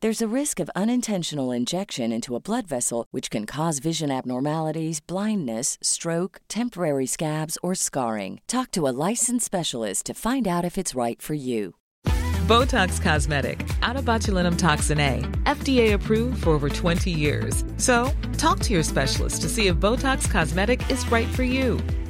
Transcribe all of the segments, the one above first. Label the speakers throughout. Speaker 1: There's a risk of unintentional injection into a blood vessel, which can cause vision abnormalities, blindness, stroke, temporary scabs, or scarring. Talk to a licensed specialist to find out if it's right for you.
Speaker 2: Botox Cosmetic, out of botulinum toxin A, FDA approved for over 20 years. So, talk to your specialist to see if Botox Cosmetic is right for you.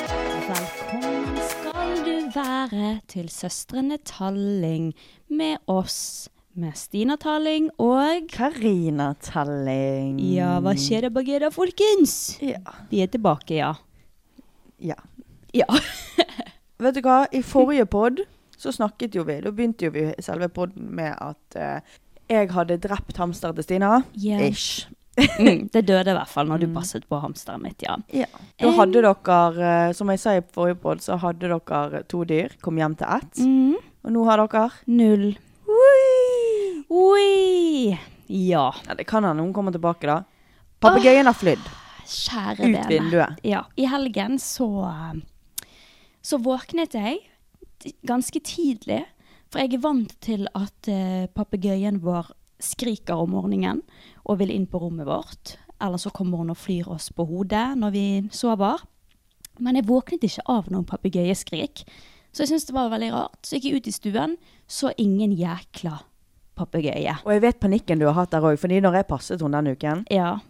Speaker 3: Velkommen skal du være til Søstrene Talling med oss, med Stina Talling og
Speaker 4: Karina Talling.
Speaker 3: Ja, hva skjer da, Bagheera, folkens?
Speaker 4: Ja.
Speaker 3: Vi er tilbake, ja.
Speaker 4: ja.
Speaker 3: Ja.
Speaker 4: Vet du hva, i forrige pod så snakket jo vi, da begynte jo vi selve podden med at eh, jeg hadde drept hamsteren til Stina.
Speaker 3: Ja.
Speaker 4: Ish. Mm.
Speaker 3: Mm, det døde i hvert fall når du passet på hamsteren mitt, ja. Eh.
Speaker 4: Ja. Da hadde dere, eh, som jeg sa i forrige pod, så hadde dere to dyr, kom hjem til ett.
Speaker 3: Mm,
Speaker 4: Og nå har dere
Speaker 3: null. Oi! Ja.
Speaker 4: Ja, det kan hende hun kommer tilbake, da. Papegøyen har flydd.
Speaker 3: Kjære
Speaker 4: Ut
Speaker 3: vene.
Speaker 4: vinduet.
Speaker 3: Ja. I helgen så Så våknet jeg t- ganske tidlig. For jeg er vant til at eh, papegøyen vår skriker om morgenen og vil inn på rommet vårt. Eller så kommer hun og flyr oss på hodet når vi sover. Men jeg våknet ikke av noen papegøyeskrik. Så jeg syntes det var veldig rart. Så gikk jeg ut i stuen, så ingen jækla papegøye.
Speaker 4: Og jeg vet panikken du har hatt der òg, fordi når jeg passet henne den uken,
Speaker 3: Ja. Mm.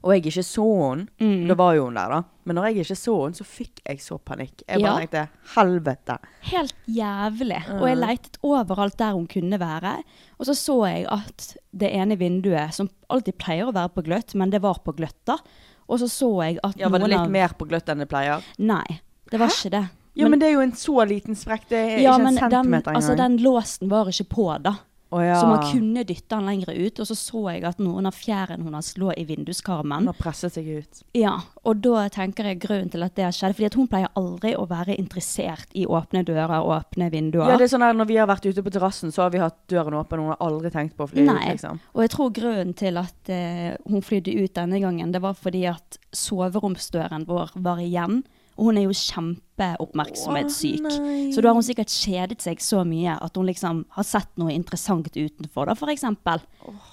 Speaker 4: og jeg ikke så henne,
Speaker 3: Mhm.
Speaker 4: da var jo hun der, da. Men når jeg ikke så henne, så fikk jeg så panikk. Jeg bare
Speaker 3: Ja.
Speaker 4: tenkte helvete.
Speaker 3: Helt jævlig. Og jeg leitet overalt der hun kunne være. Og så så jeg at det ene vinduet, som alltid pleier å være på gløtt, men det var på gløtt da. Og så så jeg at
Speaker 4: Ja, Var det
Speaker 3: noen
Speaker 4: litt
Speaker 3: av-
Speaker 4: mer på gløtt enn det pleier?
Speaker 3: Nei, det var ikke det.
Speaker 4: Ja, men, det er jo en så liten sprekk. Det er ikke en
Speaker 3: den,
Speaker 4: centimeter
Speaker 3: altså,
Speaker 4: engang.
Speaker 3: den låsen var ikke på da.
Speaker 4: Å ja.
Speaker 3: Så man kunne dytte den lenger ut. Og så så jeg at noen av fjærene hennes lå i vinduskarmen.
Speaker 4: Den har presset seg ut.
Speaker 3: Ja, og da tenker jeg grunnen til at det skjedde. fordi at hun pleier aldri å være interessert i åpne dører og åpne vinduer.
Speaker 4: Ja, det er sånn her, Når vi har vært ute på terrassen, så har vi hatt døren åpen. Hun har aldri tenkt på å fly ut,
Speaker 3: Nei,
Speaker 4: liksom.
Speaker 3: og jeg tror grunnen til at eh, hun flydde ut denne gangen, det var fordi at soveromsdøren vår var igjen. Og hun er jo kjempeoppmerksomhetssyk. så da har hun sikkert kjedet seg så mye at hun liksom har sett noe interessant utenfor, da, for eksempel.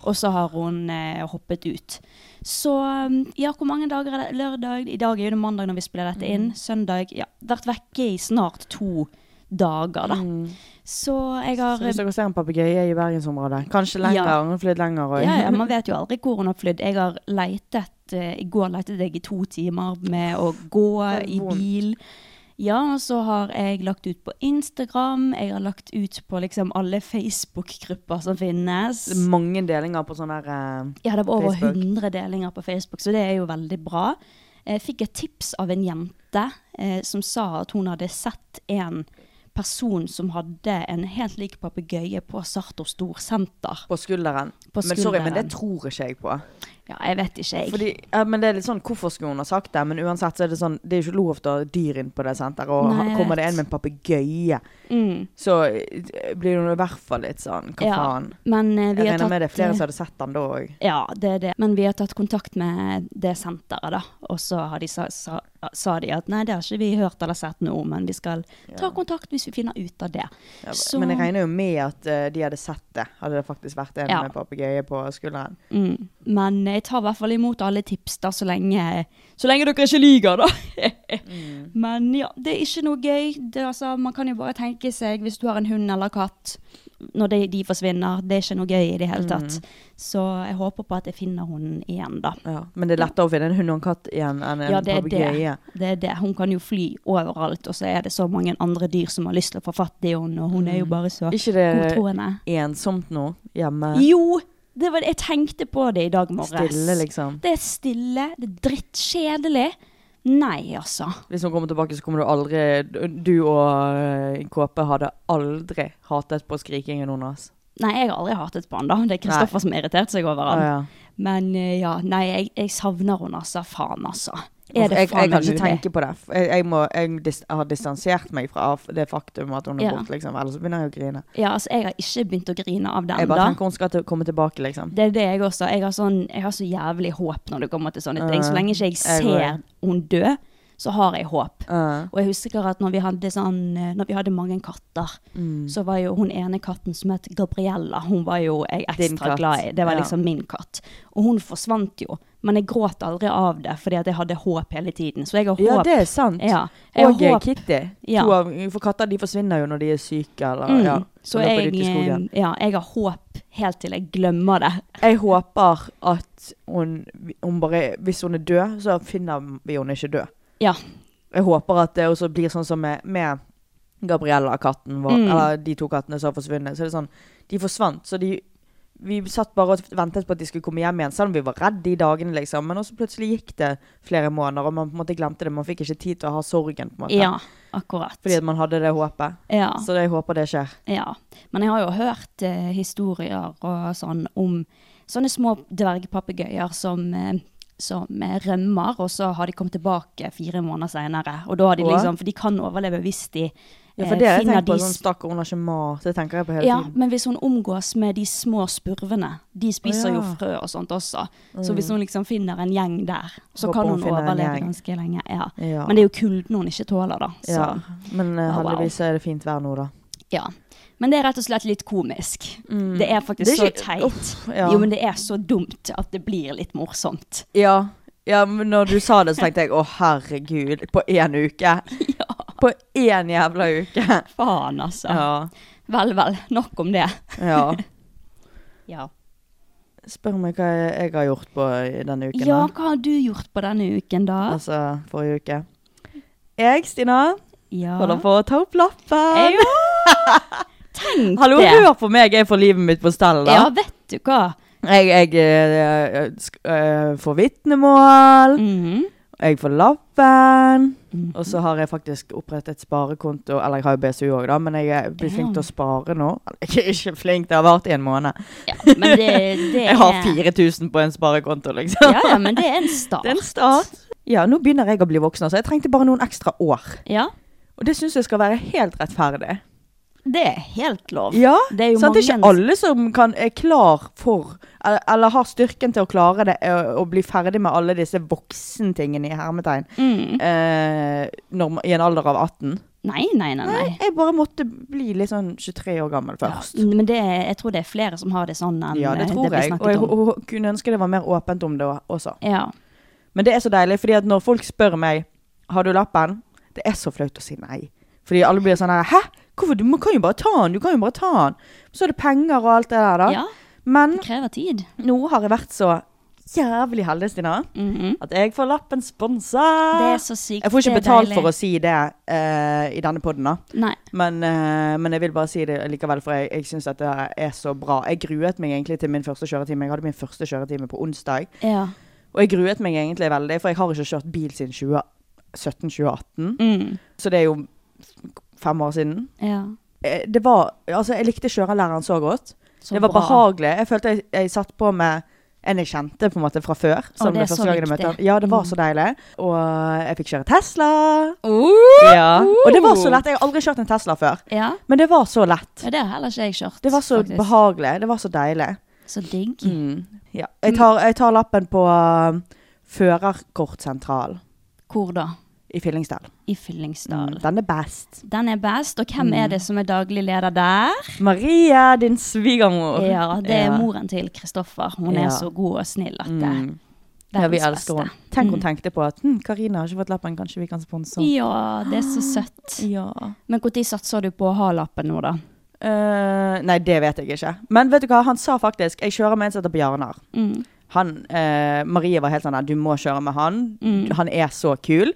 Speaker 3: Og så har hun eh, hoppet ut. Så mm, ja, hvor mange dager er det? Lørdag? I dag er jo det mandag når vi spiller dette
Speaker 4: Mm.
Speaker 3: inn. Søndag. Ja, vært vekke i snart to dager, da. Så jeg
Speaker 4: Mm. Så
Speaker 3: har
Speaker 4: Hvis dere ser en papegøye i bergensområdet, kanskje lenger.
Speaker 3: Ja.
Speaker 4: Hun har flydd lenger òg.
Speaker 3: Ja, ja, man vet jo aldri hvor hun har flydd. Jeg har leitet eh, I går letet jeg i to timer med å gå
Speaker 4: Det er
Speaker 3: i
Speaker 4: vondt.
Speaker 3: bil. Ja, og så har jeg lagt ut på Instagram. Jeg har lagt ut på liksom alle Facebook-grupper som finnes.
Speaker 4: Det er Mange delinger på sånn der eh,
Speaker 3: Ja, det var over
Speaker 4: Facebook.
Speaker 3: 100 delinger på Facebook, så det er jo veldig bra. eh, Jeg fikk et tips av en jente eh, som sa at hun hadde sett en person som hadde en helt lik papegøye på Sartor storsenter.
Speaker 4: På skulderen.
Speaker 3: På
Speaker 4: Men sorry, men
Speaker 3: skulderen.
Speaker 4: det tror ikke jeg på.
Speaker 3: Ja, jeg vet ikke, jeg.
Speaker 4: Fordi, ja, men det er litt sånn, Hvorfor skulle hun ha sagt det? Men uansett så er det sånn, det er ikke lov til å ha dyr inn på det senteret. Og
Speaker 3: Nei,
Speaker 4: han-
Speaker 3: jeg
Speaker 4: kommer det
Speaker 3: vet.
Speaker 4: en med en papegøye,
Speaker 3: Mm,
Speaker 4: så eh, blir hun i hvert fall litt sånn Hva
Speaker 3: Ja,
Speaker 4: faen?
Speaker 3: men eh, vi
Speaker 4: Jeg
Speaker 3: har
Speaker 4: regner
Speaker 3: tatt
Speaker 4: med det er flere som hadde sett den da òg.
Speaker 3: Ja, det er det. Men vi har tatt kontakt med det senteret, da. Og så har de sa, sa, sa de at nei, det har ikke vi hørt eller sett noe om, men vi skal ta kontakt hvis vi finner ut av det. Så-
Speaker 4: Men jeg regner jo med at eh, de hadde sett det, hadde det faktisk vært en
Speaker 3: Ja.
Speaker 4: med papegøye på skulderen.
Speaker 3: Mm. Men jeg tar i hvert fall imot alle tips, da, så lenge, så lenge dere ikke lyver, da.
Speaker 4: Mm.
Speaker 3: Men ja, det er ikke noe gøy. Det, er altså, man kan jo bare tenke seg, hvis du har en hund eller katt, når de, de forsvinner, det er ikke noe gøy i det hele tatt. Så jeg håper på at jeg finner hunden igjen, da.
Speaker 4: Mm. Ja. Men det er lettere å finne en hund og en katt igjen enn en
Speaker 3: Ja, det er
Speaker 4: papegøye.
Speaker 3: det. det er det. Hun kan jo fly overalt, og så er det så mange andre dyr som har lyst til å få fatt i henne, og hun er jo bare så
Speaker 4: Mm. Ikke det
Speaker 3: godtroende.
Speaker 4: ensomt nå hjemme?
Speaker 3: Jo! Det var, jeg tenkte på det i dag morges.
Speaker 4: Stille, liksom.
Speaker 3: Det er stille, det er drittkjedelig. Nei, altså.
Speaker 4: Hvis hun kommer tilbake, så kommer du aldri Du og eh, KP hadde aldri hatet på skrikingen hennes.
Speaker 3: Nei, jeg har aldri hatet på han da. Det er Kristoffer som har irritert seg over han.
Speaker 4: Ja, ja.
Speaker 3: Men eh, ja, nei, jeg, jeg savner henne altså. Faen, altså.
Speaker 4: Jeg,
Speaker 3: Er det
Speaker 4: jeg
Speaker 3: faen
Speaker 4: kan
Speaker 3: meg
Speaker 4: ikke
Speaker 3: mulig?
Speaker 4: tenke på det. Jeg, jeg, må, jeg, dis, jeg har distansert meg fra det faktum at hun er
Speaker 3: Ja.
Speaker 4: borte, liksom. Ellers begynner jeg å grine.
Speaker 3: Ja, altså, jeg har ikke begynt å grine av det
Speaker 4: Jeg bare
Speaker 3: ennå.
Speaker 4: tenker hun skal til, komme tilbake, liksom.
Speaker 3: Det er det jeg også. Jeg har, sånn, jeg har så jævlig håp når det kommer til sånne ting. Så lenge ikke jeg
Speaker 4: jeg går
Speaker 3: ser hun dø, så har jeg håp.
Speaker 4: Ja.
Speaker 3: Og jeg husker at når vi hadde, sånn, eh, når vi hadde mange katter,
Speaker 4: Mm.
Speaker 3: så var jo hun ene katten som het Gabriella, hun var jo jeg
Speaker 4: Din
Speaker 3: ekstra
Speaker 4: katt.
Speaker 3: glad i. Det var
Speaker 4: Ja.
Speaker 3: liksom min katt. Og hun forsvant jo. Men jeg gråt aldri av det, fordi at jeg hadde håp hele tiden. Så jeg har håp.
Speaker 4: Ja, det er sant.
Speaker 3: Ja. Jeg
Speaker 4: Og
Speaker 3: har
Speaker 4: eh,
Speaker 3: håp.
Speaker 4: Kitty.
Speaker 3: Ja.
Speaker 4: To av, for katter de forsvinner jo når de er syke, eller
Speaker 3: Mm.
Speaker 4: ja,
Speaker 3: så
Speaker 4: løper
Speaker 3: jeg,
Speaker 4: ut i
Speaker 3: eh,
Speaker 4: skogen.
Speaker 3: ja, jeg har håp helt til jeg glemmer det.
Speaker 4: Jeg håper at hun, hun bare Hvis hun er død, så finner vi hun ikke død.
Speaker 3: Ja.
Speaker 4: Jeg håper at det også blir sånn som med, med Gabriella og katten vår,
Speaker 3: Mm.
Speaker 4: eller de to kattene som har forsvunnet. Så det er sånn, de forsvant, så de vi satt bare og ventet på at de skulle komme hjem igjen, selv om vi var redde de dagene. liksom. Men også plutselig gikk det flere måneder, og man på en måte glemte det. Man fikk ikke tid til å ha sorgen. på en måte.
Speaker 3: Ja, akkurat.
Speaker 4: Fordi at man hadde det håpet.
Speaker 3: ja.
Speaker 4: Så jeg håper det skjer.
Speaker 3: Ja, men jeg har jo hørt eh, historier og sånn om sånne små dvergpapegøyer som, eh, som eh, rømmer, og så har de kommet tilbake fire måneder senere. Og da har de
Speaker 4: Åh?
Speaker 3: liksom, for de kan overleve hvis de
Speaker 4: Ja,
Speaker 3: eh,
Speaker 4: for det har jeg
Speaker 3: finner
Speaker 4: tenkt på.
Speaker 3: de
Speaker 4: Sånn,
Speaker 3: sp-
Speaker 4: Stakkar, hun har ikke mat. Det tenker jeg på hele
Speaker 3: ja,
Speaker 4: tiden.
Speaker 3: men hvis hun omgås med de små spurvene, de spiser
Speaker 4: Å, ja. Mm.
Speaker 3: jo frø og sånt også. Så hvis hun liksom finner en gjeng der, så
Speaker 4: Håper
Speaker 3: kan
Speaker 4: hun
Speaker 3: hun
Speaker 4: finner en
Speaker 3: overleve
Speaker 4: gjeng.
Speaker 3: ganske lenge. Ja.
Speaker 4: Ja.
Speaker 3: Men det er jo kulden hun ikke tåler, da. Så.
Speaker 4: Ja, men eh,
Speaker 3: Wow, wow.
Speaker 4: heldigvis er det fint vær nå, da.
Speaker 3: Ja. Men det er rett og slett litt komisk. Det er
Speaker 4: Mm.
Speaker 3: faktisk
Speaker 4: Det er ikke-
Speaker 3: så teit.
Speaker 4: Uff, ja.
Speaker 3: Jo, men det er så dumt at det blir litt morsomt.
Speaker 4: Ja. ja, men når du sa det, så tenkte jeg å herregud, på én uke. På én jævla uke.
Speaker 3: Faen, altså.
Speaker 4: Ja.
Speaker 3: Vel, vel. Nok om det.
Speaker 4: ja.
Speaker 3: Ja.
Speaker 4: Spør meg hva jeg, jeg har gjort på i denne uken. da.
Speaker 3: ja, hva har du gjort på denne uken, da?
Speaker 4: Altså forrige uke. Jeg, Stina,
Speaker 3: Ja.
Speaker 4: holder på å ta opp lappen.
Speaker 3: Eh, ja. Tenk
Speaker 4: Hallo,
Speaker 3: det.
Speaker 4: hør på meg, jeg får livet mitt på stell, da.
Speaker 3: Ja, vet du hva.
Speaker 4: Jeg, jeg, eh, eh, sk- eh, får vitnemål.
Speaker 3: Mhm.
Speaker 4: Jeg får lappen. Og så har jeg faktisk opprettet sparekonto. Eller jeg har jo BSU òg, da, men jeg er- blir flink til å spare nå. Eller, Jeg er ikke flink, det har vart i en måned.
Speaker 3: Ja, men det, det
Speaker 4: Jeg har
Speaker 3: er-
Speaker 4: 4000 på en sparekonto, liksom.
Speaker 3: Ja, ja, men det er en start.
Speaker 4: Det er en start. Ja, nå begynner jeg å bli voksen, så jeg trengte bare noen ekstra år.
Speaker 3: Ja,
Speaker 4: Og det syns jeg skal være helt rettferdig.
Speaker 3: det er helt lov.
Speaker 4: Ja,
Speaker 3: Det er jo
Speaker 4: sant? Det er
Speaker 3: mange-
Speaker 4: ikke alle som kan, er klar for, eller, eller har styrken til å klare det, eh, å bli ferdig med alle disse voksentingene i hermetegn,
Speaker 3: Mm.
Speaker 4: eh, når, man- i en alder av 18.
Speaker 3: Nei, nei, nei. nei.
Speaker 4: Nei, jeg bare måtte bli litt sånn 23 år gammel først.
Speaker 3: Ja, men det, er- jeg tror det er flere som har det sånn enn
Speaker 4: Ja, det
Speaker 3: eh,
Speaker 4: tror
Speaker 3: blir
Speaker 4: jeg.
Speaker 3: snakket
Speaker 4: Og jeg
Speaker 3: om.
Speaker 4: og, og kunne ønske det var mer åpent om det også.
Speaker 3: Ja.
Speaker 4: Men det er så deilig, fordi at når folk spør meg Har du lappen, det er så flaut å si nei. Fordi alle blir sånn her Hæ? Hvorfor? Du må- kan jo bare ta den! Du kan jo bare ta den! Så er det penger og alt det der, da.
Speaker 3: ja,
Speaker 4: Men
Speaker 3: det krever tid.
Speaker 4: nå har jeg vært så jævlig heldig, Stina,
Speaker 3: Mhm.
Speaker 4: at jeg får lappen sponsa.
Speaker 3: Det er så sykt.
Speaker 4: Jeg får ikke
Speaker 3: det er
Speaker 4: betalt
Speaker 3: deilig.
Speaker 4: for å si det eh, i denne poden, da.
Speaker 3: Nei.
Speaker 4: Men, eh, men jeg vil bare si det likevel, for jeg, jeg syns dette her er så bra. Jeg gruet meg egentlig til min første kjøretime. Jeg hadde min første kjøretime på onsdag.
Speaker 3: Ja.
Speaker 4: Og jeg gruet meg egentlig veldig, for jeg har ikke kjørt bil siden 2017-2018.
Speaker 3: Mm.
Speaker 4: Så det er jo fem år siden.
Speaker 3: Ja.
Speaker 4: Eh, Det var, altså Jeg likte kjørelæreren så godt.
Speaker 3: Så
Speaker 4: det var
Speaker 3: bra.
Speaker 4: behagelig. Jeg følte jeg, jeg satt på med en jeg kjente på en måte fra før. Som
Speaker 3: det
Speaker 4: det
Speaker 3: er
Speaker 4: er
Speaker 3: så
Speaker 4: første gangen jeg
Speaker 3: viktig.
Speaker 4: møtte han. Ja, det var
Speaker 3: Mm.
Speaker 4: så deilig. Og eh, jeg fikk kjøre Tesla.
Speaker 3: Uh!
Speaker 4: Ja. Og det var så lett. Jeg har aldri kjørt en Tesla før.
Speaker 3: Ja.
Speaker 4: Men det var så lett.
Speaker 3: ja, det har heller ikke jeg kjørt.
Speaker 4: Det var så Mm.
Speaker 3: faktisk.
Speaker 4: behagelig. Det var så deilig.
Speaker 3: Så digg.
Speaker 4: Ja. Jeg, tar, jeg tar lappen på um, Førerkortsentralen
Speaker 3: Hvor da?
Speaker 4: i Fyllingsdal.
Speaker 3: I Fyllingsdal.
Speaker 4: Mm, Den Mm. er best.
Speaker 3: Den er best, og hvem er det som er daglig leder der?
Speaker 4: Maria, din svigermor.
Speaker 3: Ja, det er
Speaker 4: Ja.
Speaker 3: moren til Kristoffer. Hun
Speaker 4: Ja.
Speaker 3: er så god og snill at det
Speaker 4: Mm. Ja, vi elsker henne. Tenk
Speaker 3: Mm.
Speaker 4: hun tenkte på at hm, Karina har ikke fått lappen, kanskje vi kan sponse henne.
Speaker 3: Ja, det er så søtt.
Speaker 4: Ja.
Speaker 3: Men når satser du på å ha lappen nå, da?
Speaker 4: Eh, nei, det vet jeg ikke. Men vet du hva, han sa faktisk Jeg kjører med en som heter Bjarnar.
Speaker 3: Mm.
Speaker 4: Han, eh, Marie var helt sånn der, du må kjøre med han.
Speaker 3: Mm.
Speaker 4: Han er så kul.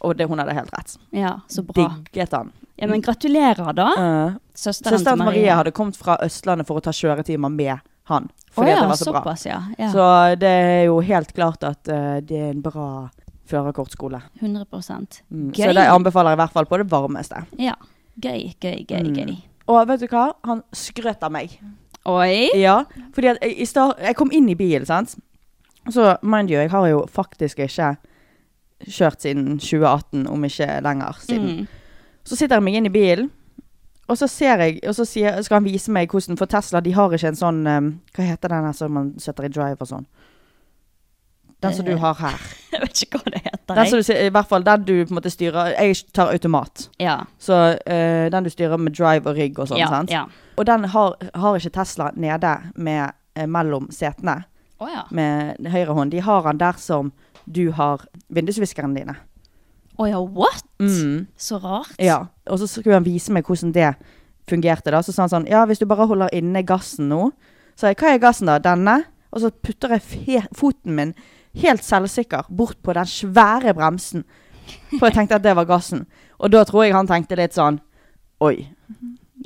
Speaker 4: Og det, hun hadde helt rett.
Speaker 3: Ja, så bra.
Speaker 4: Digget han.
Speaker 3: Ja, men gratulerer, da.
Speaker 4: Eh,
Speaker 3: Søsteren,
Speaker 4: Søsteren til Marie hadde kommet fra Østlandet for å ta kjøretimer med han.
Speaker 3: Å
Speaker 4: Fordi
Speaker 3: ja,
Speaker 4: at det var så bra.
Speaker 3: såpass, ja. ja.
Speaker 4: Så det er jo helt klart at eh, det er en bra førerkortskole.
Speaker 3: 100
Speaker 4: Mm.
Speaker 3: Gøy.
Speaker 4: Så det anbefaler jeg i hvert fall på det varmeste.
Speaker 3: Ja. Gøy, gøy, gøy.
Speaker 4: Mm.
Speaker 3: gøy.
Speaker 4: Og vet du hva? Han skrøt av meg.
Speaker 3: Oi!
Speaker 4: Ja, fordi at jeg, i start, jeg kom inn i bil, sant? Så mind you, jeg har jo faktisk ikke kjørt siden 2018, om ikke lenger siden.
Speaker 3: Mm.
Speaker 4: Så sitter jeg meg inn i bilen, og så ser jeg, og så sier, skal han vise meg hvordan, for Tesla, de har ikke en sånn, eh, hva heter den her som man setter i drive og sånn? Den som du
Speaker 3: Eh,
Speaker 4: har her.
Speaker 3: Jeg vet ikke hva det heter.
Speaker 4: Den som du, ser- I hvert fall den du på en måte styrer, jeg tar automat.
Speaker 3: Ja.
Speaker 4: Så eh, den du styrer med drive og rygg og sånn,
Speaker 3: ja,
Speaker 4: sant?
Speaker 3: ja.
Speaker 4: Og den har, har ikke Tesla nede med, eh, mellom setene
Speaker 3: Å ja.
Speaker 4: med høyre hånd. De har han der som du har vindusviskerne dine.
Speaker 3: Å ja, what? Så rart.
Speaker 4: Mm. Ja. Og så skulle han vise meg hvordan det fungerte. da. Så sa han sånn Ja, hvis du bare holder inne gassen nå Så sa jeg hva er gassen, da? Denne? Og så putter jeg fe foten min helt selvsikker bort på den svære bremsen. For jeg tenkte at det var gassen. Og da tror jeg han tenkte litt sånn Oi,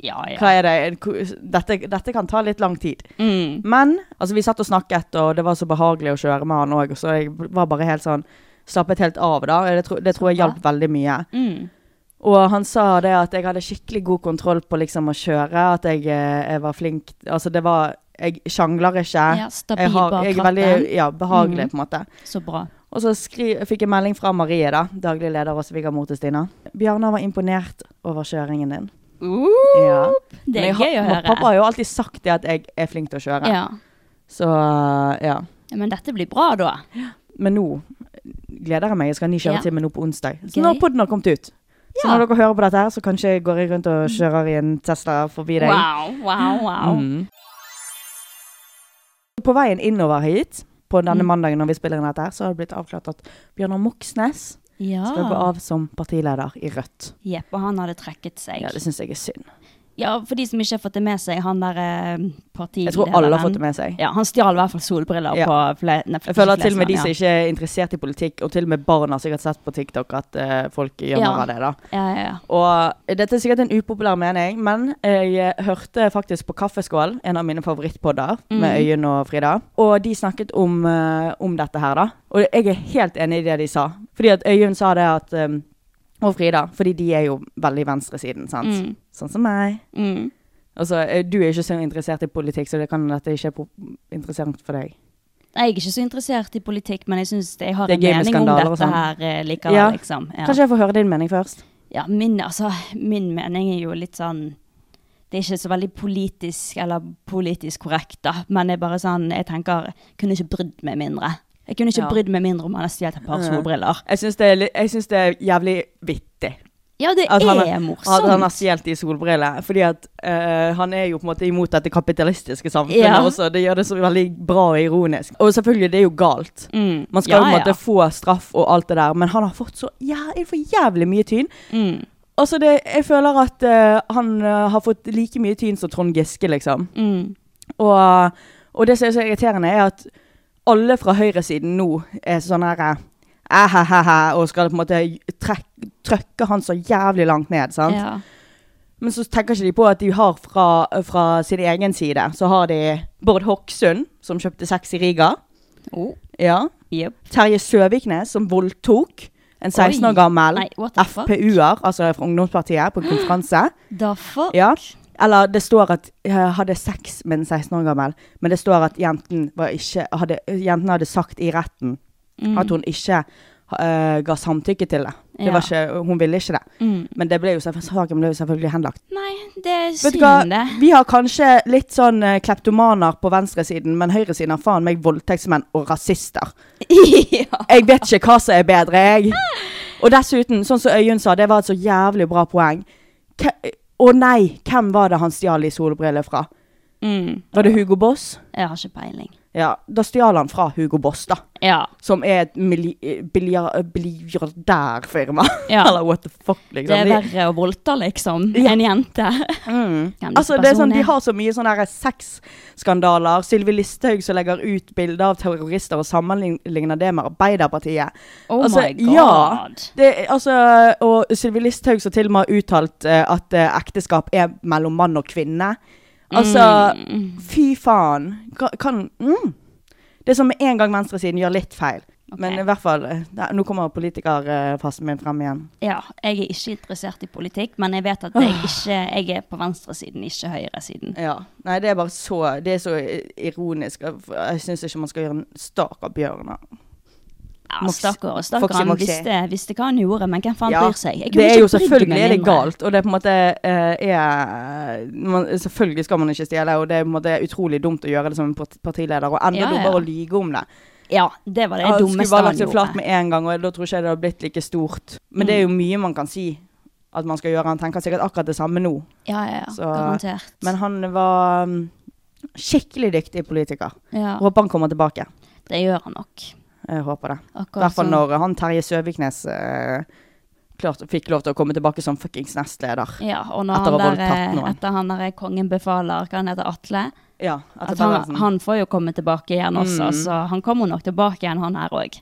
Speaker 3: Ja, ja.
Speaker 4: hva er det? En ko- Dette, dette kan ta litt lang tid.
Speaker 3: Mm.
Speaker 4: Men altså, vi satt og snakket, og det var så behagelig å kjøre med han òg, så jeg var bare helt sånn Slappet helt av, da. Det, tro, det tror jeg
Speaker 3: Så bra.
Speaker 4: hjalp veldig mye.
Speaker 3: Mm.
Speaker 4: Og han sa det at jeg hadde skikkelig god kontroll på liksom å kjøre, at jeg, eh, jeg var flink Altså, det var Jeg sjangler ikke.
Speaker 3: Ja, stabil
Speaker 4: jeg, har,
Speaker 3: bak
Speaker 4: jeg er veldig
Speaker 3: ratten.
Speaker 4: ja, behagelig,
Speaker 3: Mhm.
Speaker 4: på en måte.
Speaker 3: Så bra.
Speaker 4: Og så skri, fikk jeg melding fra Marie, da, daglig leder og svigermor til Stina. Bjarnar var imponert over kjøringen din. Ja.
Speaker 3: Det
Speaker 4: Men
Speaker 3: er
Speaker 4: jeg har-
Speaker 3: gøy å høre.
Speaker 4: Pappa har jo alltid sagt det at jeg er flink til å kjøre.
Speaker 3: ja.
Speaker 4: Så eh, ja.
Speaker 3: Ja, Men dette blir bra, da.
Speaker 4: Men nå gleder jeg meg. Jeg skal ha ny kjøretime nå på onsdag. Så nå har
Speaker 3: Gøy.
Speaker 4: podden har kommet ut. Så
Speaker 3: Ja.
Speaker 4: når dere hører på dette her, så kanskje jeg går jeg rundt og kjører i en Tesla forbi deg.
Speaker 3: Wow, wow, wow.
Speaker 4: Mm. På veien innover hit, på denne
Speaker 3: Mm.
Speaker 4: mandagen når vi spiller inn dette her, så har det blitt avklart at Bjørnar Moxnes
Speaker 3: Ja.
Speaker 4: skal gå av som partileder i Rødt.
Speaker 3: Jepp, og han hadde trekket seg.
Speaker 4: Ja, det syns jeg er synd.
Speaker 3: Ja, for de som ikke har fått det med seg, han der eh, partilederen
Speaker 4: Jeg tror alle har fått det med seg.
Speaker 3: Ja, han stjal i hvert fall solbriller
Speaker 4: Ja.
Speaker 3: på fle nei,
Speaker 4: Jeg føler at
Speaker 3: ikke
Speaker 4: til og med de som
Speaker 3: Flesland,
Speaker 4: ikke er interessert i politikk, og til og med barn har sikkert sett på TikTok at eh, folk gjør
Speaker 3: Ja.
Speaker 4: narr av det, da.
Speaker 3: ja. Ja, ja,
Speaker 4: Og dette er sikkert en upopulær mening, men jeg eh, hørte faktisk på Kaffeskål, en av mine favorittpodder, med Øyunn og Frida, og de snakket om, eh, om dette her, da. Og jeg er helt enig i det de sa. Fordi at Øyunn sa det at eh, Og Frida, fordi de er jo veldig venstresiden, sant.
Speaker 3: Mm.
Speaker 4: Sånn som meg.
Speaker 3: ja. Mm.
Speaker 4: Altså, eh, du er ikke så interessert i politikk, så det kan dette ikke er po- interessant for deg.
Speaker 3: Nei, Jeg er ikke så interessert i politikk, men jeg syns jeg har
Speaker 4: Det er
Speaker 3: en
Speaker 4: gøy med
Speaker 3: mening om
Speaker 4: skandaler og
Speaker 3: dette
Speaker 4: sånn.
Speaker 3: her eh, likevel,
Speaker 4: Ja.
Speaker 3: liksom. Ja.
Speaker 4: Kanskje jeg får høre din mening først?
Speaker 3: ja, min, altså, min mening er jo litt sånn Det er ikke så veldig politisk eller politisk korrekt, da. Men det er bare sånn, jeg tenker jeg Kunne ikke brydd meg mindre. Jeg kunne ikke
Speaker 4: Ja.
Speaker 3: brydd meg mindre om han har stjålet et par
Speaker 4: Ja.
Speaker 3: solbriller.
Speaker 4: Jeg syns det, er li- jeg syns det er jævlig vittig.
Speaker 3: Ja, det
Speaker 4: At han
Speaker 3: er
Speaker 4: har-
Speaker 3: morsomt.
Speaker 4: At han har stjålet de solbrillene. Fordi at eh, han er jo på en måte imot dette kapitalistiske samfunnet
Speaker 3: Ja.
Speaker 4: også. Det gjør det så veldig bra og ironisk. Og selvfølgelig, det er jo galt.
Speaker 3: Mm.
Speaker 4: Man skal jo
Speaker 3: Ja,
Speaker 4: på en måte
Speaker 3: ja.
Speaker 4: få straff og alt det der, men han har fått så jævlig, for jævlig mye tyn.
Speaker 3: Mm.
Speaker 4: Altså, det, jeg føler at eh, han eh, har fått like mye tyn som Trond Giske, liksom.
Speaker 3: Mm.
Speaker 4: Og, og det som er så irriterende, er at alle fra høyresiden nå er sånn her eh, «Æhæhæhæ», og skal på en måte trekk, trøkke han så jævlig langt ned. sant?
Speaker 3: Ja.
Speaker 4: Men så tenker ikke de på at de har fra, fra sin egen side, så har de Bård Hokksund, som kjøpte sex i Riga.
Speaker 3: Oh.
Speaker 4: Ja.
Speaker 3: Jep.
Speaker 4: Terje Søviknes, som voldtok. en 16 år gammel
Speaker 3: Nei, what the fuck?
Speaker 4: FPU-er, altså fra ungdomspartiet, på konferanse.
Speaker 3: Da fuck?
Speaker 4: Ja. Eller det står at jeg hadde sex med en 16 år gammel, men det står at jenten, var ikke, hadde, jenten hadde sagt i retten
Speaker 3: Mm.
Speaker 4: at hun ikke eh, ga samtykke til det. det var ikke, hun ville ikke det. Men det ble jo selvfø- saken ble jo selvfølgelig henlagt.
Speaker 3: Nei, det er
Speaker 4: Vet du hva,
Speaker 3: synd, det.
Speaker 4: vi har kanskje litt sånn eh, kleptomaner på venstresiden, men høyresiden har faen meg voldtektsmenn og rasister.
Speaker 3: ja.
Speaker 4: Jeg vet ikke hva som er bedre, jeg. Og dessuten, sånn som Øyunn sa, det var et så jævlig bra poeng. Ke- Å nei, hvem var det han stjal i solbriller fra?
Speaker 3: Mm.
Speaker 4: Var det Hugo Boss?
Speaker 3: Jeg har ikke peiling.
Speaker 4: Ja, da stjal han fra Hugo Boss, da.
Speaker 3: Ja.
Speaker 4: Som er et milli- eh, billiard- billiardærfirma.
Speaker 3: Ja.
Speaker 4: Eller what the fuck, liksom.
Speaker 3: Det er
Speaker 4: De-
Speaker 3: verre å voldta, liksom, enn jente. Hvem
Speaker 4: Altså,
Speaker 3: disse
Speaker 4: det er sånn,
Speaker 3: personene
Speaker 4: de har så mye sånne her sexskandaler. Sylvi Listhaug som legger ut bilder av terrorister og sammenligner det med Arbeiderpartiet.
Speaker 3: Oh
Speaker 4: altså,
Speaker 3: my god. Mm.
Speaker 4: ja. Det, er- altså, og Sylvi Listhaug som til og med har uttalt eh, at eh, ekteskap er mellom mann og kvinne. Altså,
Speaker 3: Mm.
Speaker 4: fy faen. Ka- Kan, mm. Det er som med en gang venstresiden gjør litt feil. Men i hvert fall, eh, da- nå kommer politikerfasen min frem igjen.
Speaker 3: Ja, jeg er ikke interessert i politikk, men jeg vet at jeg, ikke, jeg er på venstresiden, ikke høyresiden.
Speaker 4: Ah. Ja. Nei, det er bare så Det er så i- ironisk. Jeg syns ikke man skal gjøre en stak av bjørner.
Speaker 3: Ja,
Speaker 4: Mox-
Speaker 3: stakkar og
Speaker 4: Foxy
Speaker 3: stakkar, han
Speaker 4: Moxie.
Speaker 3: visste, visste hva han gjorde, men hvem faen
Speaker 4: Ja,
Speaker 3: bryr seg? Jeg kunne
Speaker 4: det er
Speaker 3: ikke
Speaker 4: jo
Speaker 3: brydd meg
Speaker 4: selvfølgelig er det
Speaker 3: mindre.
Speaker 4: galt, og det er på en måte eh, er man, Selvfølgelig skal man ikke stjele, og det er på en måte utrolig dumt å gjøre det som en part- partileder, og enda
Speaker 3: Ja, ja.
Speaker 4: dummere å lyge om det.
Speaker 3: Ja, det var det
Speaker 4: Ja, skulle
Speaker 3: dummeste
Speaker 4: bare lagt
Speaker 3: han
Speaker 4: seg flat
Speaker 3: gjorde.
Speaker 4: med en gang, og da tror ikke jeg det hadde blitt like stort. Men det er jo
Speaker 3: Mm.
Speaker 4: mye man kan si at man skal gjøre. Han tenker sikkert akkurat det samme nå.
Speaker 3: Ja, ja, ja,
Speaker 4: Så-
Speaker 3: garantert.
Speaker 4: Men han var mm, skikkelig dyktig politiker.
Speaker 3: ja,
Speaker 4: Håper han kommer tilbake.
Speaker 3: det gjør han nok.
Speaker 4: Jeg håper det. I
Speaker 3: Akkurat
Speaker 4: hvert fall
Speaker 3: som-
Speaker 4: når han Terje Søviknes eh, klart, fikk lov til å komme tilbake som fuckings nestleder.
Speaker 3: Ja, og når
Speaker 4: Etter å ha
Speaker 3: han der,
Speaker 4: voldtatt noen.
Speaker 3: eh, etter han der kongen befaler, hva han heter, Atle,
Speaker 4: Ja, etter
Speaker 3: at han,
Speaker 4: Berlesen.
Speaker 3: han får jo komme tilbake igjen også,
Speaker 4: Mm.
Speaker 3: så han kommer nok tilbake igjen, han her òg.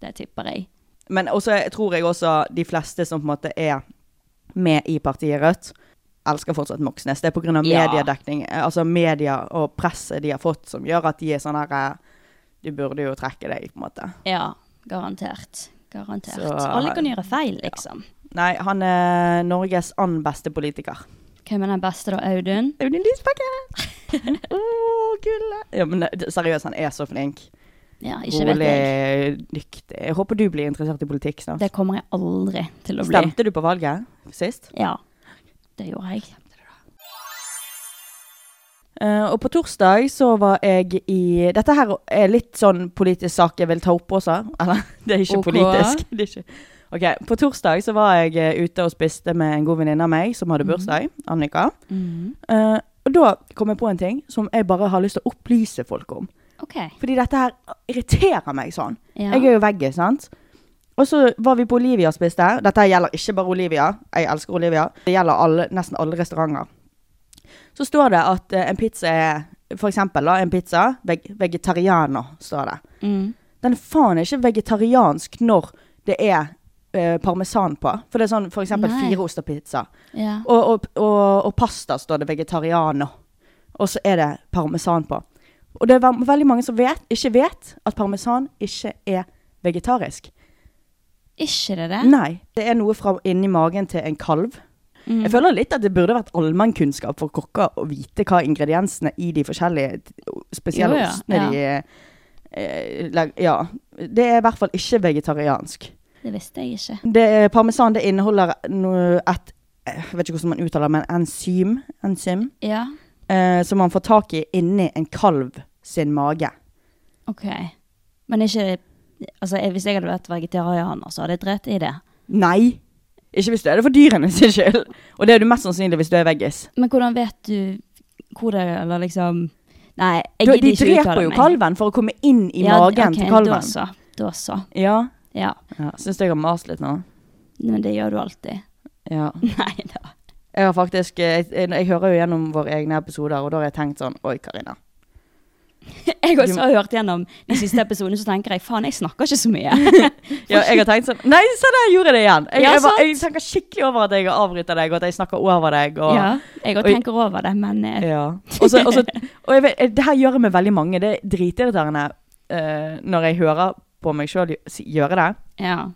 Speaker 3: Det tipper jeg.
Speaker 4: Men også jeg tror jeg også de fleste som på en måte er med i partiet Rødt, elsker fortsatt Moxnes. Det er pga.
Speaker 3: Ja.
Speaker 4: mediedekning, eh, altså media og presset de har fått, som gjør at de er sånn her eh, Du burde jo trekke deg, på en måte.
Speaker 3: Ja, garantert. Garantert.
Speaker 4: Så-
Speaker 3: Alle kan gjøre feil, liksom.
Speaker 4: Nei, han er Norges annen beste politiker.
Speaker 3: Hvem er den beste da, Audun?
Speaker 4: Audun Lysbakken! Å, gullet! Ja, men eh, seriøst, han er så flink.
Speaker 3: Ja, ikke vet jeg.
Speaker 4: Rolig, dyktig. Jeg håper du blir interessert i politikk snart.
Speaker 3: Det kommer jeg aldri til å bli.
Speaker 4: Stemte du på valget sist?
Speaker 3: Ja, det gjorde jeg.
Speaker 4: Eh, og på torsdag så var jeg i Dette her er litt sånn politisk sak jeg vil ta opp også. Eller, det er ikke
Speaker 3: Ok.
Speaker 4: politisk. Det er ikke. Ok, På torsdag så var jeg eh, ute og spiste med en god venninne av meg som hadde bursdag. Annika.
Speaker 3: Mm.
Speaker 4: Eh, og da kom jeg på en ting som jeg bare har lyst til å opplyse folk om.
Speaker 3: OK.
Speaker 4: Fordi dette her irriterer meg sånn.
Speaker 3: Ja.
Speaker 4: Jeg er jo veggis, sant? Og så var vi på Olivia og spiste. Dette her gjelder ikke bare Olivia. Jeg elsker Olivia. Det gjelder alle, nesten alle restauranter. Så står det at eh, en pizza er For eksempel da, en pizza veg Vegetariano, står det.
Speaker 3: Mm.
Speaker 4: Den er faen ikke vegetariansk når det er eh, parmesan på. For det er sånn for eksempel
Speaker 3: Nei.
Speaker 4: fireosterpizza.
Speaker 3: Ja.
Speaker 4: Og, og, og, og pasta står det vegetariano. Og så er det parmesan på. Og det er ve- veldig mange som vet, ikke vet at parmesan ikke er vegetarisk.
Speaker 3: Ikke det det?
Speaker 4: Nei. Det er noe fra inni magen til en kalv. Jeg
Speaker 3: Mm. Mhm.
Speaker 4: føler litt at det burde vært allmennkunnskap for kokker å vite hva ingrediensene i de forskjellige t- spesielle
Speaker 3: Jo, ja,
Speaker 4: ostene de eh, lag- Ja. Det er i hvert fall ikke vegetariansk.
Speaker 3: Det visste jeg ikke.
Speaker 4: Det, parmesan det inneholder no- et Jeg vet ikke hvordan man uttaler det, men enzym. enzym
Speaker 3: Ja,
Speaker 4: eh, som man får tak i inni en kalv sin mage.
Speaker 3: OK. Men ikke Altså, jeg- hvis jeg hadde vært vegetarianer, så hadde jeg drept i det.
Speaker 4: Nei! Ikke hvis du er det for dyrene sin skyld. Og det er du mest sannsynlig hvis du er veggis.
Speaker 3: Men hvordan vet du hvor det Eller liksom Nei, jeg
Speaker 4: Du,
Speaker 3: gidder
Speaker 4: de
Speaker 3: ikke uttale meg.
Speaker 4: dreper jo kalven for å komme inn i
Speaker 3: Ja,
Speaker 4: magen
Speaker 3: ok,
Speaker 4: til kalven.
Speaker 3: Da så. Da så.
Speaker 4: Ja.
Speaker 3: Ja.
Speaker 4: ja. Syns du jeg har mast litt nå?
Speaker 3: Men det gjør du alltid.
Speaker 4: Ja.
Speaker 3: Nei da.
Speaker 4: Jeg har faktisk eh, jeg, jeg hører jo gjennom våre egne episoder, og da har jeg tenkt sånn Oi, Karina.
Speaker 3: Jeg også har hørt gjennom de siste episodene, så tenker jeg faen, jeg snakker ikke så mye.
Speaker 4: Ja, jeg har tenkt sånn Nei, se der gjorde jeg det igjen! Jeg,
Speaker 3: Ja,
Speaker 4: jeg, bare-
Speaker 3: sant.
Speaker 4: jeg tenker skikkelig over at jeg avbryter deg, og at jeg snakker over deg. Og,
Speaker 3: Ja, jeg òg
Speaker 4: Oi.
Speaker 3: tenker over det, men eh,
Speaker 4: Ja. Og, så, og, så, og jeg vet, det her gjør jeg med veldig mange. Det er dritirriterende eh, når jeg hører på meg sjøl gjøre det.
Speaker 3: ja.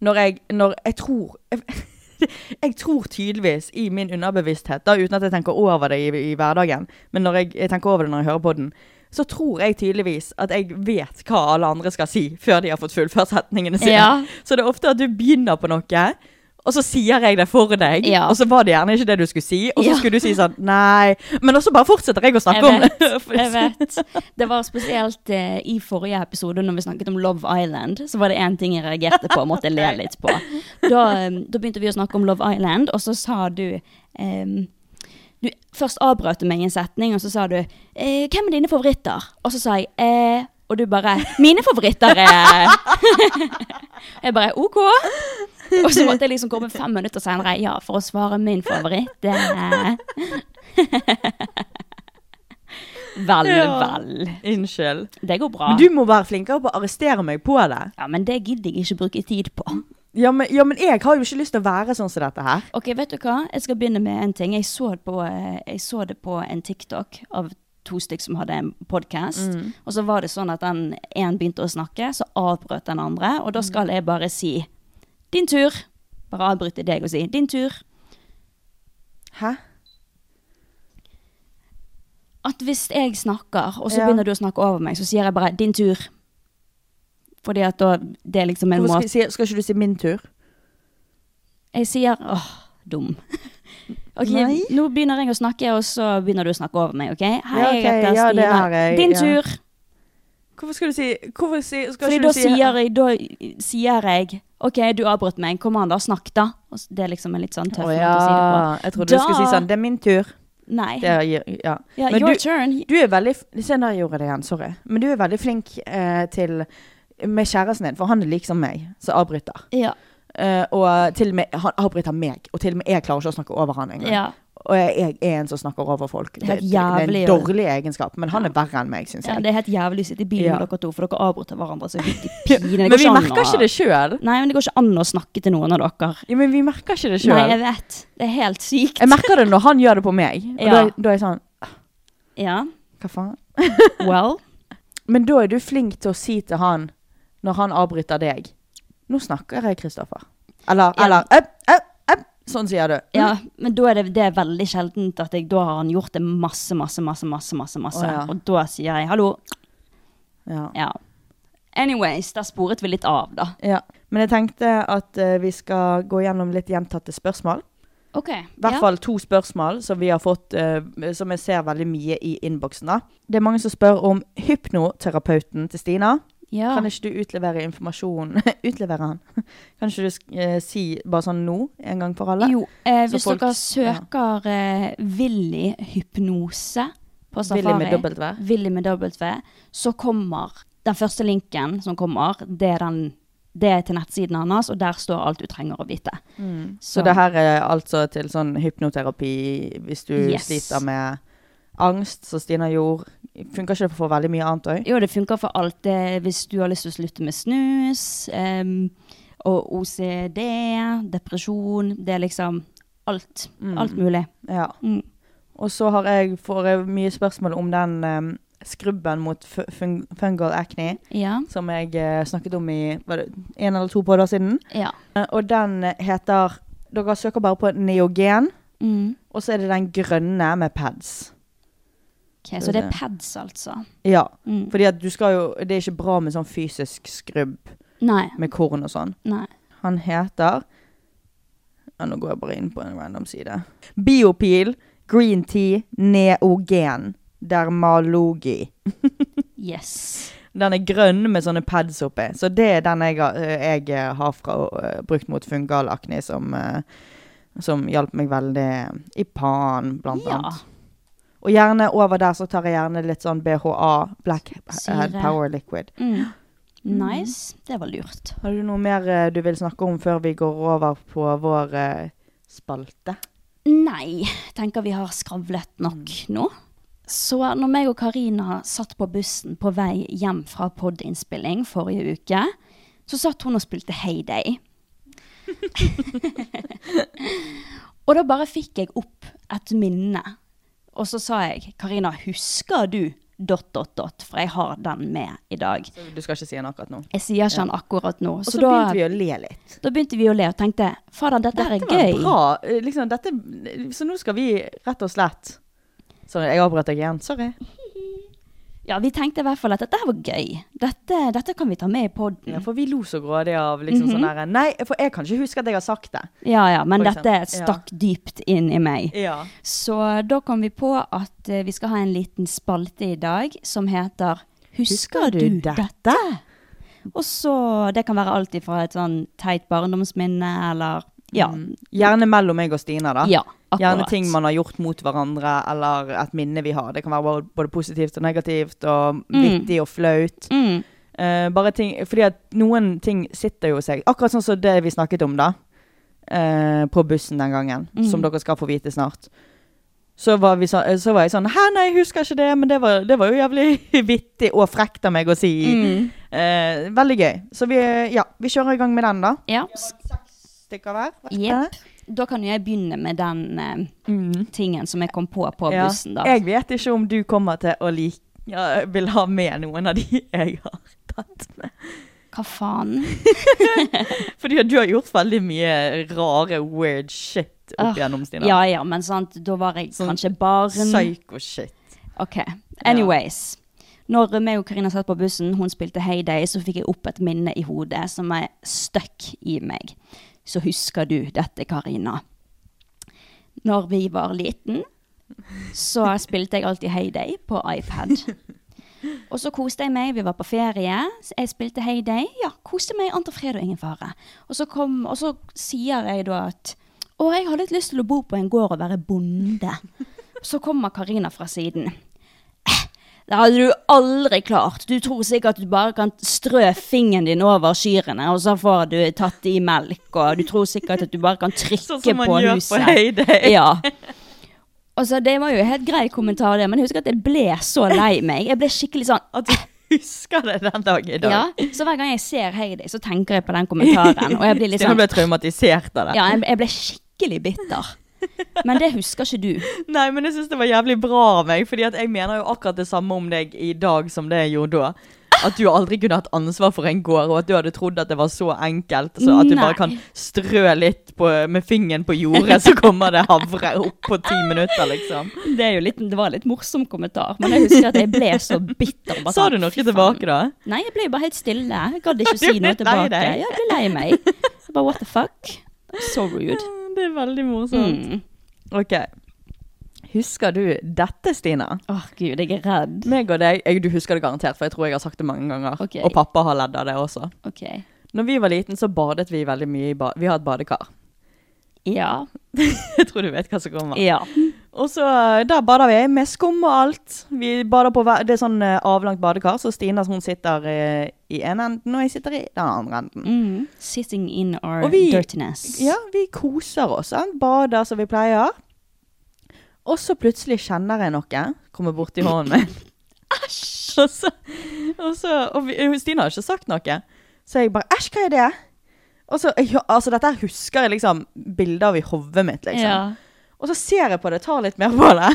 Speaker 4: når jeg, når jeg tror jeg, jeg tror tydeligvis i min underbevissthet, da, uten at jeg tenker over det i, i hverdagen, men når jeg, jeg tenker over det når jeg hører på den, så tror jeg tydeligvis at jeg vet hva alle andre skal si før de har fått fullført setningene sine.
Speaker 3: Ja.
Speaker 4: Så det er ofte at du begynner på noe, og så sier jeg det for deg,
Speaker 3: Ja.
Speaker 4: og så var det gjerne ikke det du skulle si, og så
Speaker 3: Ja.
Speaker 4: skulle du si sånn nei, men også bare fortsetter jeg å snakke om
Speaker 3: Jeg
Speaker 4: det. For-
Speaker 3: Jeg vet. Det var spesielt eh, i forrige episode, når vi snakket om Love Island, så var det én ting jeg reagerte på og måtte le litt på. Da, eh, da begynte vi å snakke om Love Island, og så sa du ehm, du, Først avbrøt du meg i en setning, og så sa du eh, 'Hvem er dine favoritter?' Og så sa jeg eh, Og du bare 'Mine favoritter er Jeg bare 'OK'. Og så måtte jeg liksom komme fem minutter senere ja, for å svare min favoritt. eh. Det er Vel,
Speaker 4: Ja.
Speaker 3: vel.
Speaker 4: Unnskyld.
Speaker 3: Det går bra.
Speaker 4: Men du må være flinkere på å arrestere meg på det.
Speaker 3: Ja, men det gidder jeg ikke bruke tid på.
Speaker 4: Ja, men, ja, men jeg har jo ikke lyst til å være sånn som dette her.
Speaker 3: Ok, vet du hva? Jeg skal begynne med en ting. Jeg så det på, eh, jeg så det på en TikTok av to stykk som hadde en podkast.
Speaker 4: Mm.
Speaker 3: Og så var det sånn at den en begynte å snakke, så avbrøt den andre.
Speaker 4: Mm.
Speaker 3: Og da skal jeg bare si 'din tur'. Bare avbryte deg og si 'din tur'.
Speaker 4: Hæ?
Speaker 3: At hvis jeg snakker, og så
Speaker 4: Ja.
Speaker 3: begynner du å snakke over meg, så sier jeg bare 'din tur'. Fordi at da Det er liksom en
Speaker 4: Hvorfor
Speaker 3: måte
Speaker 4: skal, si- skal ikke du si min tur?
Speaker 3: Jeg sier åh, dum. Ok,
Speaker 4: Nei.
Speaker 3: Nå begynner jeg å snakke, og så begynner du å snakke over meg. ok? Hei,
Speaker 4: Ja, ok,
Speaker 3: jeg heter
Speaker 4: ja, det
Speaker 3: Stina.
Speaker 4: har jeg,
Speaker 3: Din
Speaker 4: ja.
Speaker 3: tur.
Speaker 4: Hvorfor skal du si Hvorfor si, skal
Speaker 3: Fordi
Speaker 4: ikke
Speaker 3: da
Speaker 4: du si
Speaker 3: sier, jeg, da sier jeg OK, du avbrøt meg. Kom an, da. Snakk, da. Og s- Det er liksom en litt sånn
Speaker 4: Å
Speaker 3: tøff måte
Speaker 4: ja.
Speaker 3: å si det på.
Speaker 4: Jeg trodde du skulle si sånn Det er min tur.
Speaker 3: Nei.
Speaker 4: Det gir Ja.
Speaker 3: ja,
Speaker 4: Men
Speaker 3: your
Speaker 4: du,
Speaker 3: turn.
Speaker 4: du er veldig f- Se, der gjorde jeg det igjen. Sorry. Men du er veldig flink eh, til med kjæresten din, for han er lik som meg, som avbryter.
Speaker 3: Ja.
Speaker 4: Eh, og til og med Han avbryter meg, og til og med jeg klarer ikke å snakke over han engang.
Speaker 3: ja.
Speaker 4: Og jeg, jeg er en som snakker over folk. Det,
Speaker 3: er helt
Speaker 4: det er
Speaker 3: jævlig,
Speaker 4: en
Speaker 3: jo.
Speaker 4: dårlig egenskap, men han er verre enn meg, syns
Speaker 3: Ja,
Speaker 4: jeg.
Speaker 3: det er helt jævlig å sitte i bilen
Speaker 4: Ja.
Speaker 3: med dere to, for dere avbryter hverandre så vidt i pine. Det
Speaker 4: men
Speaker 3: går
Speaker 4: vi
Speaker 3: an
Speaker 4: merker
Speaker 3: å-
Speaker 4: ikke det sjøl.
Speaker 3: Nei, men det går ikke an å snakke til noen av dere.
Speaker 4: Ja, men vi merker ikke det
Speaker 3: Nei,
Speaker 4: sjøl.
Speaker 3: jeg vet. Det er helt sykt.
Speaker 4: Jeg merker det når han gjør det på meg. Og
Speaker 3: Ja.
Speaker 4: da, da er jeg sånn
Speaker 3: Ja.
Speaker 4: Hva faen?
Speaker 3: Well.
Speaker 4: Men da er du flink til å si til han, når han avbryter deg Nå snakker jeg, Kristoffer. Eller,
Speaker 3: Ja.
Speaker 4: eller «Øpp, øpp, øpp», Sånn sier du.
Speaker 3: Ja, men da er det, det er veldig sjeldent at jeg, da har han gjort det masse, masse, masse, masse, masse,
Speaker 4: Å,
Speaker 3: masse.
Speaker 4: ja.
Speaker 3: Og da sier jeg hallo.
Speaker 4: Ja.
Speaker 3: Ja. Anyways, der sporet vi litt av, da.
Speaker 4: Ja. Men jeg tenkte at eh, vi skal gå gjennom litt gjentatte spørsmål.
Speaker 3: Ok.
Speaker 4: I hvert fall to spørsmål som vi har fått, eh, som jeg ser veldig mye i innboksen. da. Det er mange som spør om hypnoterapeuten til Stina.
Speaker 3: Ja.
Speaker 4: Kan ikke du utlevere informasjon Utlevere han. Kan ikke du sk- eh, si bare sånn nå, en gang for alle?
Speaker 3: Jo, eh,
Speaker 4: Så
Speaker 3: hvis
Speaker 4: folk-
Speaker 3: dere søker eh, Willy hypnose på Safari
Speaker 4: Willy med dobbelt V.
Speaker 3: Willy med dobbelt V, så kommer den første linken som kommer, det er, den, det er til nettsiden hans, og der står alt du trenger å vite. Mm,
Speaker 4: Så det her er altså til sånn hypnoterapi hvis du
Speaker 3: Yes.
Speaker 4: sliter med angst, som Stina gjorde. Funker ikke det for veldig mye annet òg?
Speaker 3: Jo, det funker for alt. Det, hvis du har lyst til å slutte med snus, em, og OCD, depresjon Det er liksom alt. Alt mulig.
Speaker 4: Ja.
Speaker 3: Mm.
Speaker 4: Og så har jeg, får jeg mye spørsmål om den em, skrubben mot fu- fung fungal acne
Speaker 3: Ja.
Speaker 4: som jeg eh, snakket om i var det, en eller to podder siden.
Speaker 3: ja.
Speaker 4: Eh, og den heter Dere søker bare på neogen,
Speaker 3: Mm.
Speaker 4: og så er det den grønne med pads.
Speaker 3: Ok, så det er pads, altså.
Speaker 4: Ja.
Speaker 3: Mm.
Speaker 4: Fordi at du skal jo Det er ikke bra med sånn fysisk skrubb
Speaker 3: Nei.
Speaker 4: med korn og sånn.
Speaker 3: nei.
Speaker 4: Han heter ja, Nå går jeg bare inn på en random side. Biopil, green tea, neogen, dermalogi.
Speaker 3: Yes.
Speaker 4: Den er grønn med sånne pads oppi. Så det er den jeg, har- eh, jeg eh, har fra, eh, brukt mot fungal akne, som, eh, som hjalp meg veldig i pan, blant
Speaker 3: Ja.
Speaker 4: annet. Og gjerne over der så tar jeg gjerne litt sånn BHA, Black Head
Speaker 3: Syre.
Speaker 4: Power Liquid.
Speaker 3: Mm. Nice. Det var lurt.
Speaker 4: Har du noe mer eh, du vil snakke om før vi går over på vår eh, spalte?
Speaker 3: Nei, tenker vi har skravlet nok
Speaker 4: Mm.
Speaker 3: nå. Så når meg og Karina satt på bussen på vei hjem fra podinnspilling forrige uke, så satt hun og spilte Heyday. og da bare fikk jeg opp et minne. Og så sa jeg, Karina, husker du dot, dot, dot, for jeg har den med i dag.
Speaker 4: Så Du skal ikke si den akkurat nå.
Speaker 3: Jeg sier ikke den akkurat nå.
Speaker 4: Og
Speaker 3: Så,
Speaker 4: så
Speaker 3: da,
Speaker 4: begynte vi å le litt.
Speaker 3: da begynte vi å le og tenkte fader, dette, her
Speaker 4: Det var
Speaker 3: er gøy.
Speaker 4: Bra. eh, Liksom, dette, så nå skal vi rett og slett Sorry, jeg avbrøt deg igjen. Sorry.
Speaker 3: Ja, vi tenkte i hvert fall at dette her var gøy. Dette, dette kan vi ta med i
Speaker 4: Ja,
Speaker 3: poden.
Speaker 4: for vi lo så grådig av liksom sånn
Speaker 3: Mhm.
Speaker 4: der Nei, for jeg kan ikke huske at jeg har sagt det.
Speaker 3: Ja ja, men
Speaker 4: For
Speaker 3: dette
Speaker 4: eksempel, ja.
Speaker 3: stakk dypt inn i meg.
Speaker 4: Ja.
Speaker 3: Så da kom vi på at eh, vi skal ha en liten spalte i dag som heter Husker du dette? Og så Det kan være alt ifra et sånn teit barndomsminne eller Ja.
Speaker 4: Gjerne mellom meg og Stina, da.
Speaker 3: ja
Speaker 4: Mm.
Speaker 3: akkurat.
Speaker 4: Gjerne ting man har gjort mot hverandre, eller et minne vi har. Det kan være både- både positivt og negativt, og vittig og flaut.
Speaker 3: mm.
Speaker 4: Eh, bare ting, fordi at noen ting sitter jo hos seg. Akkurat sånn som det vi snakket om, da. eh, på bussen den gangen, som
Speaker 3: Mm.
Speaker 4: dere skal få vite snart. Så var, vi så, eh, så var jeg sånn Hæ, nei, jeg husker ikke det, men det var, det var jo jævlig vittig og frekt av meg å si.
Speaker 3: Mm.
Speaker 4: Eh, veldig gøy. Så vi, ja, vi kjører i gang med den, da.
Speaker 3: Ja. s-
Speaker 4: Stikker hver.
Speaker 3: Jepp. Da kan jo jeg begynne med den eh, tingen som jeg kom på på
Speaker 4: Ja.
Speaker 3: bussen, da.
Speaker 4: Jeg vet ikke om du kommer til å like ja, vil ha med noen av de jeg har tatt med.
Speaker 3: Hva faen?
Speaker 4: Fordi at du har gjort veldig mye rare, weird shit
Speaker 3: Ah,
Speaker 4: opp igjennom, Stina.
Speaker 3: Ja ja, men sant, da var jeg
Speaker 4: Sånn
Speaker 3: kanskje barn.
Speaker 4: Psycho-shit.
Speaker 3: Ok, anyways. Når meg og Karina satt på bussen, hun spilte Heyday, så fikk jeg opp et minne i hodet som er stuck i meg. Så husker du dette, Karina. Når vi var liten, så spilte jeg alltid Heyday på iPad. Og så koste jeg meg, vi var på ferie, så jeg spilte Heyday. Ja, koste meg, ante fred og ingen fare. Og så, kom, og så sier jeg da at å, jeg har litt lyst til å bo på en gård og være bonde. Så kommer Karina fra siden. «Eh, Det hadde du aldri klart. Du tror sikkert at du bare kan strø fingeren din over kyrne, og så får du tatt i melk, og du tror sikkert at du bare kan trykke
Speaker 4: Sånn som man
Speaker 3: på
Speaker 4: gjør
Speaker 3: huset.
Speaker 4: på Heyday.
Speaker 3: Ja. Altså, det var jo en helt grei kommentar, det, men jeg husker at jeg ble så lei meg. Jeg ble skikkelig sånn
Speaker 4: At du husker det den dag i dag.
Speaker 3: ja, så hver gang jeg ser Heidi, så tenker jeg på den kommentaren. Og jeg blir litt
Speaker 4: Stina
Speaker 3: sånn
Speaker 4: ble traumatisert av det.
Speaker 3: Ja, jeg, jeg ble skikkelig bitter. Men det husker ikke du.
Speaker 4: Nei, men jeg syns det var jævlig bra av meg, Fordi at jeg mener jo akkurat det samme om deg i dag som det jeg gjorde da. At du aldri kunne hatt ansvar for en gård, og at du hadde trodd at det var så enkelt. Så at du
Speaker 3: Nei.
Speaker 4: bare kan strø litt på, med fingeren på jordet, så kommer det havre opp på ti minutter, liksom.
Speaker 3: Det, er jo litt, det var en litt morsom kommentar, men jeg husker at jeg ble så bitter. bare
Speaker 4: Sa
Speaker 3: sånn,
Speaker 4: du noe
Speaker 3: fy faen.
Speaker 4: tilbake da?
Speaker 3: Nei, jeg ble jo bare helt stille. Jeg gadd ikke å
Speaker 4: Du
Speaker 3: si noe
Speaker 4: ble lei
Speaker 3: tilbake.
Speaker 4: deg.
Speaker 3: Ja, jeg ble lei meg. Jeg bare what the fuck? So rude.
Speaker 4: Det er veldig morsomt.
Speaker 3: Mm.
Speaker 4: Ok. Husker du dette, Stina?
Speaker 3: Åh gud, jeg er redd.
Speaker 4: Meg og deg, jeg, Du husker det garantert, for jeg tror jeg har sagt det mange ganger.
Speaker 3: Ok.
Speaker 4: Og pappa har ledd av det også.
Speaker 3: Ok.
Speaker 4: Når vi var liten, så badet vi veldig mye i ba Vi har et badekar.
Speaker 3: Ja.
Speaker 4: Jeg tror du vet hva som kommer.
Speaker 3: Ja.
Speaker 4: Og så eh, da bader vi med skum og alt. Vi bader på hver, Det er sånn eh, avlangt badekar, så Stina hun sitter eh, i en enden, og jeg sitter i den andre enden.
Speaker 3: Mm. Sitting in our
Speaker 4: Og vi-
Speaker 3: dirtiness.
Speaker 4: Ja, vi koser oss. Sant? Bader som vi pleier. Og så plutselig kjenner jeg noe komme borti hånden min. Æsj! Og, så, og, så, og vi, eh, Stina har ikke sagt noe. Så jeg bare Æsj, hva er det? Og så, ja, altså Dette her husker jeg liksom bilder av i hodet mitt. liksom.
Speaker 3: Ja.
Speaker 4: Og så ser jeg på det, tar litt mer på det.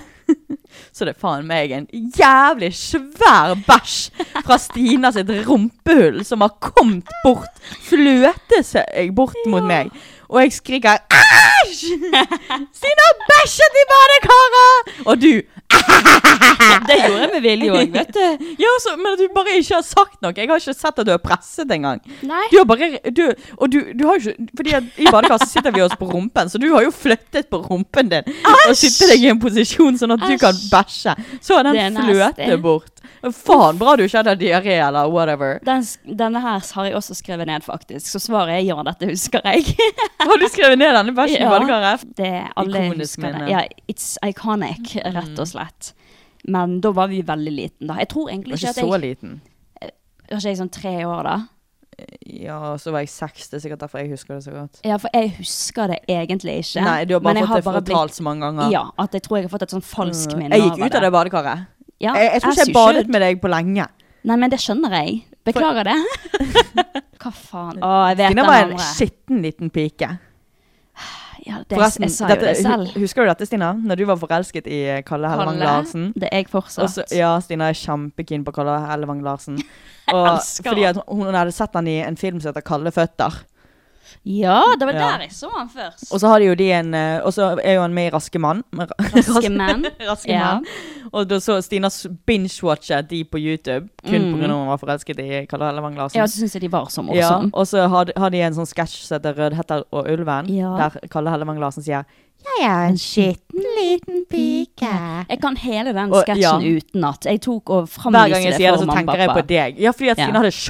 Speaker 4: Så det er faen meg en jævlig svær bæsj fra Stina sitt rumpehull som har kommet bort, fløtet seg bort mot meg. Og jeg skriker 'æsj'! Stina har bæsjet i badekaret! Og du
Speaker 3: Det gjorde jeg med vilje òg, vet du.
Speaker 4: Ja, så, men du bare ikke har sagt noe. Jeg har ikke sett at du er presset engang.
Speaker 3: Nei.
Speaker 4: Du har bare du, Og du, du har jo ikke Fordi at i badekar så sitter vi oss på rumpen, så du har jo flyttet på rumpen din. Og sitter deg i en posisjon sånn at du kan bæsje. Så har
Speaker 3: Det er
Speaker 4: den
Speaker 3: nasty.
Speaker 4: fløte bort. Faen bra du ikke hadde diaré eller whatever.
Speaker 3: Den, denne her har jeg også skrevet ned, faktisk. Så svaret er ja, dette husker jeg.
Speaker 4: Har du skrevet ned denne bæsjen
Speaker 3: Ja.
Speaker 4: i badekaret?
Speaker 3: Det er alle
Speaker 4: Ikonisk
Speaker 3: husker det.
Speaker 4: minne. Mm.
Speaker 3: Ja, it's iconic, rett og slett. Men da var vi veldig liten da. Jeg tror
Speaker 4: Du
Speaker 3: egentlig
Speaker 4: var
Speaker 3: ikke
Speaker 4: ikke
Speaker 3: at
Speaker 4: så
Speaker 3: jeg
Speaker 4: liten.
Speaker 3: Var ikke jeg sånn tre år da?
Speaker 4: Ja, så var jeg seks. Det er sikkert derfor jeg husker det så godt.
Speaker 3: Ja, for jeg husker det egentlig ikke.
Speaker 4: Nei, du har
Speaker 3: men
Speaker 4: bare
Speaker 3: jeg
Speaker 4: fått det fortalt så mange ganger. Mm.
Speaker 3: Ja, at jeg tror jeg har fått et sånn falskt minne
Speaker 4: Jeg gikk ut av det badekaret.
Speaker 3: Ja,
Speaker 4: jeg, jeg tror
Speaker 3: as
Speaker 4: ikke jeg
Speaker 3: you should.
Speaker 4: badet med deg på lenge.
Speaker 3: Nei, men det skjønner jeg. Beklager det. Hva faen? Å, jeg vet
Speaker 4: Stina
Speaker 3: den
Speaker 4: var en
Speaker 3: andre.
Speaker 4: skitten liten pike.
Speaker 3: Ja, det,
Speaker 4: Forresten,
Speaker 3: jeg sa jo det
Speaker 4: dette-
Speaker 3: selv.
Speaker 4: hu- Husker du dette, Stina? Når du var forelsket i eh, Kalle Hellevang
Speaker 5: Kalle?
Speaker 4: Larsen.
Speaker 3: Det er jeg
Speaker 4: Og
Speaker 3: fortsatt.
Speaker 4: så- ja, Stina er kjempekeen på Kalle Hellevang Larsen.
Speaker 5: Jeg
Speaker 4: Og,
Speaker 5: elsker
Speaker 4: fordi
Speaker 5: han.
Speaker 4: at hun, hun hadde sett han i en film som heter 'Kalde føtter'.
Speaker 3: Ja, det var
Speaker 4: Ja.
Speaker 3: der jeg så han først.
Speaker 4: Og så har de jo de en eh, Og så er jo han med i Raske mann.
Speaker 3: Raske menn.
Speaker 4: Raske
Speaker 3: Ja.
Speaker 4: mann. Og da så Stina s- binge-watchet de på YouTube kun
Speaker 3: Mm.
Speaker 4: pga. at hun var forelsket i Kalle Hellevang Larsen.
Speaker 3: Ja, så syns jeg de var så
Speaker 4: Ja,
Speaker 3: morsomme.
Speaker 4: og så har de, har de en sånn sketsj som heter 'Rødhette og ulven',
Speaker 3: Ja.
Speaker 4: der Kalle Hellevang Larsen sier
Speaker 3: Jeg er en skitten liten pike. Jeg kan hele den
Speaker 4: Og- ja.
Speaker 3: sketsjen utenat. Jeg tok og
Speaker 4: Hver gang
Speaker 3: framviste
Speaker 4: jeg
Speaker 3: det
Speaker 4: sier det,
Speaker 3: for
Speaker 4: så
Speaker 3: mamma og
Speaker 4: tenker jeg
Speaker 3: pappa.
Speaker 4: på deg. Ja, fordi at
Speaker 3: Ja.
Speaker 4: Stina hadde sj-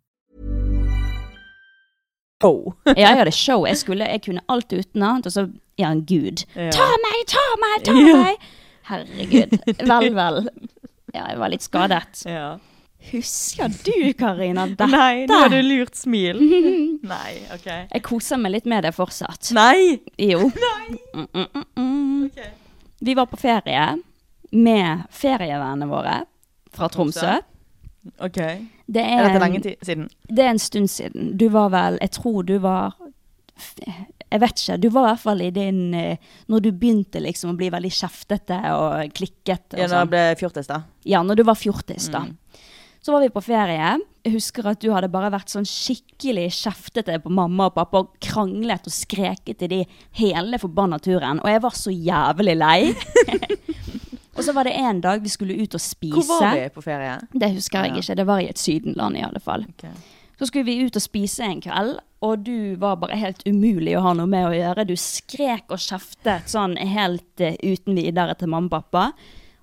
Speaker 4: Oh.
Speaker 3: Ja, jeg hadde show. Jeg, skulle, jeg kunne alt utenat, og så er han gud.
Speaker 4: Ja.
Speaker 3: Ta meg, ta meg, ta
Speaker 4: Ja.
Speaker 3: meg! Herregud. Vel, vel. Ja, jeg var litt skadet.
Speaker 4: Ja.
Speaker 3: Husker du, Karina, dette?
Speaker 4: Nei, nå har du lurt smil. Nei, OK.
Speaker 3: Jeg koser meg litt med det fortsatt.
Speaker 4: Nei!
Speaker 3: Jo. Mm, mm, mm, mm. Vi var på ferie med ferievennene våre fra Tromsø.
Speaker 4: OK. Er
Speaker 3: Det er,
Speaker 4: dette
Speaker 3: en-
Speaker 4: lenge ti- siden?
Speaker 3: Um, det er en stund siden. Du var vel Jeg tror du var Jeg vet ikke. Du var i hvert fall i din eh, Når du begynte liksom å bli veldig kjeftete og klikkete
Speaker 4: Ja, når jeg
Speaker 3: og sånn.
Speaker 4: ble Mm. fjortis, da.
Speaker 3: Ja, når du var fjortis, da. Så var vi på ferie. Jeg husker at du hadde bare vært sånn skikkelig kjeftete på mamma og pappa og kranglet og skreket til de hele forbanna turen. Og jeg var så jævlig lei. og så var det en dag vi skulle ut og spise.
Speaker 4: Hvor var vi på ferie?
Speaker 3: Det husker jeg
Speaker 4: Ja.
Speaker 3: ikke. Det var i et sydenland i alle fall. Så skulle vi ut og spise en kveld, og du var bare helt umulig å ha noe med å gjøre. Du skrek og kjeftet sånn helt eh, uten videre til mamma og pappa.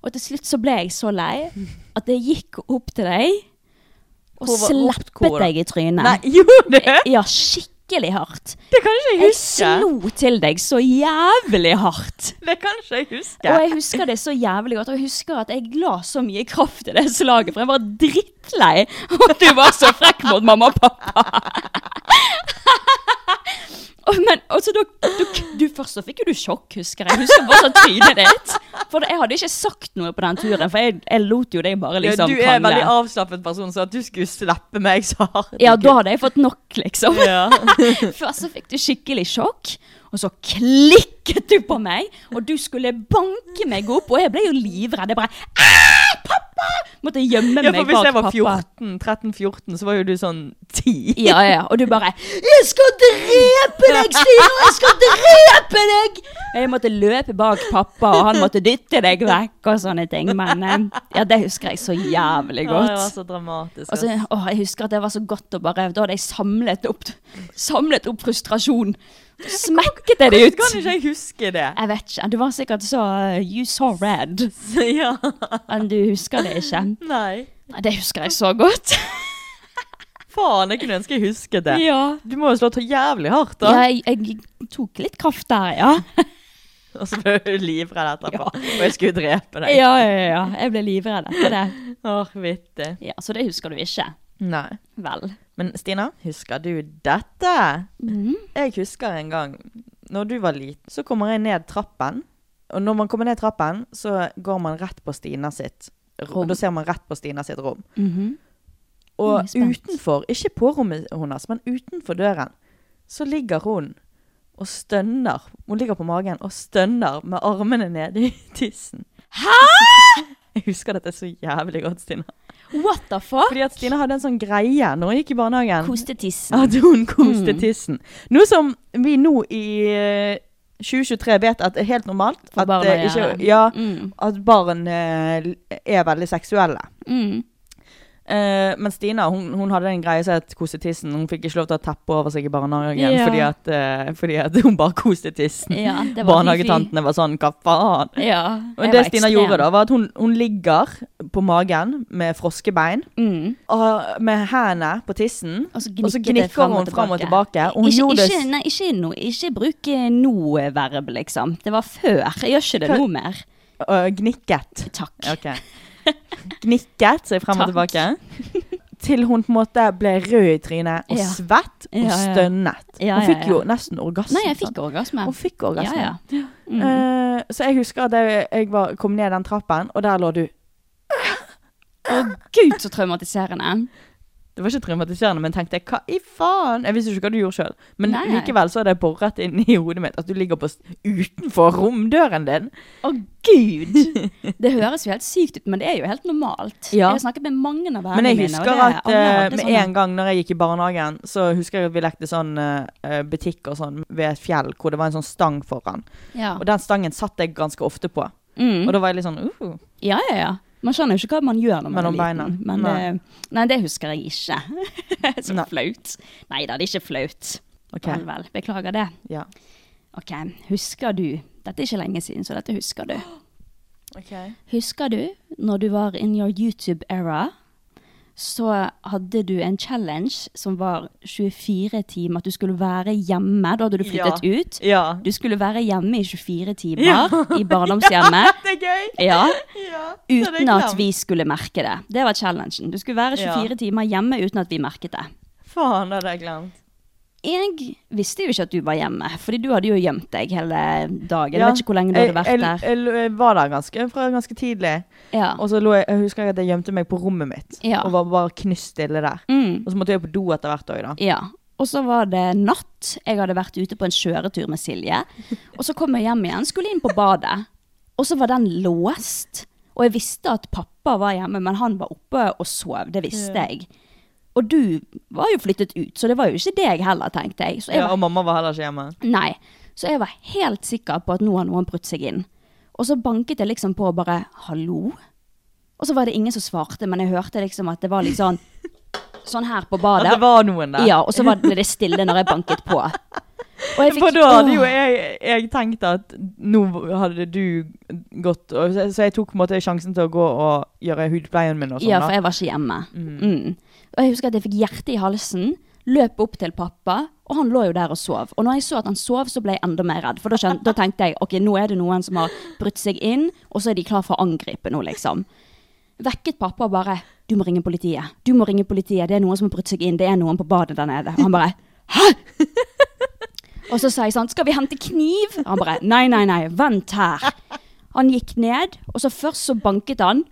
Speaker 3: Og til slutt så ble jeg så lei at jeg gikk opp til deg og
Speaker 4: Hvor var- hvor-
Speaker 3: slappet
Speaker 4: hvor da?
Speaker 3: deg i trynet.
Speaker 4: Nei, gjorde du?
Speaker 3: Ja, skikkelig hardt.
Speaker 4: Det kan ikke
Speaker 3: Jeg slo til deg så jævlig hardt.
Speaker 4: Det kan ikke jeg huske.
Speaker 3: Og jeg husker det så jævlig godt. Og jeg husker at jeg la så mye kraft i det slaget, for jeg var drittlei av at du var så frekk mot mamma og pappa. Og, men altså, du, du, du, først så fikk jo du sjokk, husker jeg. Husker bare sånn trynet ditt. For jeg hadde ikke sagt noe på den turen, for jeg, jeg lot jo deg bare
Speaker 4: Ja,
Speaker 3: liksom
Speaker 4: du er en veldig
Speaker 3: krangle.
Speaker 4: avslappet person, så at du skulle slippe meg så hardt
Speaker 3: Ja, da hadde jeg fått nok, liksom.
Speaker 4: Ja.
Speaker 3: Først så fikk du skikkelig sjokk, og så klikket du på meg, og du skulle banke meg opp, og jeg ble jo livredd. Jeg bare «Ah, pappa! Måtte gjemme
Speaker 4: Ja,
Speaker 3: meg
Speaker 4: for
Speaker 3: bak
Speaker 4: hvis jeg var
Speaker 3: pappa.
Speaker 4: 14, 13-14, så var jo du sånn 10.
Speaker 3: Ja, ja, ja. Og du bare 'Jeg skal drepe deg, Stina! Jeg skal drepe deg!' Og jeg måtte løpe bak pappa, og han måtte dytte deg vekk og sånne ting. Men eh, ja, det husker jeg så
Speaker 4: Ja,
Speaker 3: jævlig
Speaker 4: det
Speaker 3: godt.
Speaker 4: var så dramatisk.
Speaker 3: Og så, åh, jeg husker at det var så godt å bare Da hadde jeg samlet opp, samlet opp frustrasjon. Så smekket jeg det
Speaker 4: Hvordan
Speaker 3: ut.
Speaker 4: kan ikke jeg huske det?
Speaker 3: Jeg vet ikke. Du var sikkert så uh, You saw red.
Speaker 4: Ja.
Speaker 3: Men du husker det ikke.
Speaker 4: Nei.
Speaker 3: Nei, det husker jeg så godt.
Speaker 4: Faen, jeg kunne ønske jeg husket det.
Speaker 3: Ja.
Speaker 4: Du må jo slå ta jævlig hardt, da.
Speaker 3: Ja, jeg, jeg tok litt kraft der, ja.
Speaker 4: Og så ble du livredd etterpå. Og jeg skulle drepe deg.
Speaker 3: Ja, ja, ja. Jeg ble livredd etter det.
Speaker 4: Åh, vittig.
Speaker 3: Ja, Så det husker du ikke?
Speaker 4: Nei.
Speaker 3: Vel.
Speaker 4: Men Stina, husker du dette? Jeg husker en gang Når du var liten, så kommer jeg ned trappen. Og når man kommer ned trappen, så går man rett på Stina sitt rom.
Speaker 3: Rom.
Speaker 4: Da ser man rett på Stina sitt rom.
Speaker 3: Mhm.
Speaker 4: Og
Speaker 3: Jeg er spent.
Speaker 4: utenfor, ikke på rommet hennes, men utenfor døren, så ligger hun og stønner. Hun ligger på magen og stønner med armene nede i tissen. Hæ?! Jeg husker dette så jævlig godt, Stina.
Speaker 3: What the fuck?
Speaker 4: Fordi at Stina hadde en sånn greie når hun gikk i barnehagen.
Speaker 3: Koste tissen. Mm.
Speaker 4: At hun koste tissen. Noe som vi nå i eh, 2023 vet at er helt normalt.
Speaker 3: For
Speaker 4: at,
Speaker 3: barn
Speaker 4: eh,
Speaker 3: å
Speaker 4: ikke,
Speaker 3: gjøre.
Speaker 4: ja,
Speaker 3: Mm.
Speaker 4: at barn eh, er veldig seksuelle.
Speaker 3: Mm.
Speaker 4: Eh, men Stina hun, hun hadde en greie som het koste tissen. Hun fikk ikke lov til å ha teppe over seg i barnehagen
Speaker 3: Ja.
Speaker 4: fordi, at, eh, fordi at hun bare koste tissen.
Speaker 3: Ja, det var
Speaker 4: Barnehagetantene var sånn 'hva faen'?
Speaker 3: fifi. Ja, jeg
Speaker 4: Men det
Speaker 3: var
Speaker 4: Stina
Speaker 3: ekstrem.
Speaker 4: gjorde, da, var at hun, hun ligger på magen med froskebein
Speaker 3: Mm.
Speaker 4: og med hendene på tissen.
Speaker 3: Og så
Speaker 4: Og så
Speaker 3: gnikker det
Speaker 4: gnikker
Speaker 3: frem
Speaker 4: hun
Speaker 3: og
Speaker 4: frem
Speaker 3: tilbake.
Speaker 4: og tilbake. Og hun
Speaker 3: ikke,
Speaker 4: gjorde
Speaker 3: ikke,
Speaker 4: det
Speaker 3: nei, ikke, nå- ikke bruk eh, nå-verb, liksom. Det var før. Jeg gjør ikke det
Speaker 4: Hva-
Speaker 3: nå mer.
Speaker 4: øh, gnikket.
Speaker 3: Takk.
Speaker 4: Ok. Gnikket seg frem og
Speaker 3: Takk.
Speaker 4: tilbake. Til hun på en måte ble rød i trynet og
Speaker 3: Ja.
Speaker 4: svett og
Speaker 3: Ja, ja.
Speaker 4: stønnet.
Speaker 3: Ja,
Speaker 4: Hun
Speaker 3: ja,
Speaker 4: fikk
Speaker 3: ja.
Speaker 4: jo nesten orgasme.
Speaker 3: Nei, jeg fikk orgasme.
Speaker 4: Hun fikk orgasme.
Speaker 3: Ja, ja. Mm.
Speaker 4: Eh, så jeg husker at jeg, jeg var, kom ned den trappen, og der lå du.
Speaker 3: Gud, så traumatiserende.
Speaker 4: Det var ikke traumatiserende, men tenkte jeg, hva i faen? Jeg visste ikke hva du gjorde sjøl. Men
Speaker 3: Nei.
Speaker 4: likevel så er det boret inn i hodet mitt at du ligger på, s- utenfor romdøren din.
Speaker 3: Å, gud! Det høres jo helt sykt ut, men det er jo helt normalt.
Speaker 4: Ja.
Speaker 3: Jeg har snakket med mange
Speaker 4: Men
Speaker 3: av vennene
Speaker 4: jeg
Speaker 3: mine,
Speaker 4: husker at eh,
Speaker 3: sånn.
Speaker 4: med en gang når jeg gikk i barnehagen, så husker jeg at vi lekte sånn eh, butikk og sånn ved et fjell hvor det var en sånn stang foran.
Speaker 3: ja.
Speaker 4: Og den stangen satt jeg ganske ofte på.
Speaker 3: Mm.
Speaker 4: Og da var jeg litt sånn uh,
Speaker 3: ja, ja, ja. Man skjønner jo ikke hva man gjør når man
Speaker 4: Mellom
Speaker 3: er liten.
Speaker 4: beina.
Speaker 3: Men nei. Det, nei, det husker jeg ikke. så
Speaker 4: Nei.
Speaker 3: flaut. Nei da, det er ikke flaut.
Speaker 4: OK.
Speaker 3: Vel, vel. Beklager det.
Speaker 4: Ja.
Speaker 3: Ok, husker du Dette er ikke lenge siden, så dette husker du. Husker du når du var in your YouTube era, så hadde du en challenge som var 24 timer. At du skulle være hjemme. Da hadde du flyttet
Speaker 4: Ja.
Speaker 3: ut.
Speaker 4: Ja.
Speaker 3: Du skulle være hjemme i 24 timer
Speaker 4: Ja.
Speaker 3: i barndomshjemmet.
Speaker 4: Det er gøy!
Speaker 3: Ja,
Speaker 4: Ja, det hadde jeg
Speaker 3: Uten at
Speaker 4: glemt.
Speaker 3: vi skulle merke det. Det var challengen. Du skulle være 24
Speaker 4: Ja.
Speaker 3: timer hjemme uten at vi merket det.
Speaker 4: Faen, det hadde jeg glemt.
Speaker 3: Jeg visste jo ikke at du var hjemme, fordi du hadde jo gjemt deg hele dagen.
Speaker 4: Ja.
Speaker 3: Jeg vet ikke hvor lenge du hadde vært
Speaker 4: jeg,
Speaker 3: der.
Speaker 4: Jeg, jeg var der ganske, fra ganske tidlig.
Speaker 3: Ja.
Speaker 4: Og så lå jeg, jeg husker jeg at jeg gjemte meg på rommet mitt
Speaker 3: Ja.
Speaker 4: og var bare knuststille der.
Speaker 3: Mm.
Speaker 4: Og så måtte jeg på do etter hvert òg, da.
Speaker 3: Ja. Og så var det natt. Jeg hadde vært ute på en kjøretur med Silje. Og så kom jeg hjem igjen, skulle inn på badet. Og så var den låst. Og jeg visste at pappa var hjemme, men han var oppe og sov. Det visste jeg. Og du var jo flyttet ut, så det var jo ikke deg heller, tenkte jeg. Så jeg
Speaker 4: Ja,
Speaker 3: var
Speaker 4: og mamma var heller ikke hjemme.
Speaker 3: Nei. Så jeg var helt sikker på at nå har noen brutt seg inn. Og så banket jeg liksom på og bare 'hallo'? Og så var det ingen som svarte, men jeg hørte liksom at det var litt sånn Sånn her på
Speaker 4: At
Speaker 3: badet.
Speaker 4: det var noen der.
Speaker 3: Ja, og så var det- ble det stille når jeg banket på. Og jeg
Speaker 4: For da hadde jo
Speaker 3: åh,
Speaker 4: jeg, jeg tenkt at nå hadde du gått og, så, så jeg tok på en måte sjansen til å gå og gjøre hudpleien min og sånn.
Speaker 3: Ja, for
Speaker 4: da.
Speaker 3: jeg var ikke hjemme. Mm. Og jeg husker at jeg fikk hjertet i halsen, løp opp til pappa, og han lå jo der og sov. Og når jeg så at han sov, så ble jeg enda mer redd. For da, skjøn- da tenkte jeg ok, nå er det noen som har brutt seg inn, og så er de klar for å angripe nå, liksom. Vekket pappa og bare 'Du må ringe politiet. Du må ringe politiet. Det er noen som har brutt seg inn. Det er noen på badet der nede.' Og han bare 'Hæ?' Og så sa jeg sånn 'Skal vi hente kniv?' Og han bare 'Nei, nei, nei. Vent her.' Han gikk ned, og så først så banket han.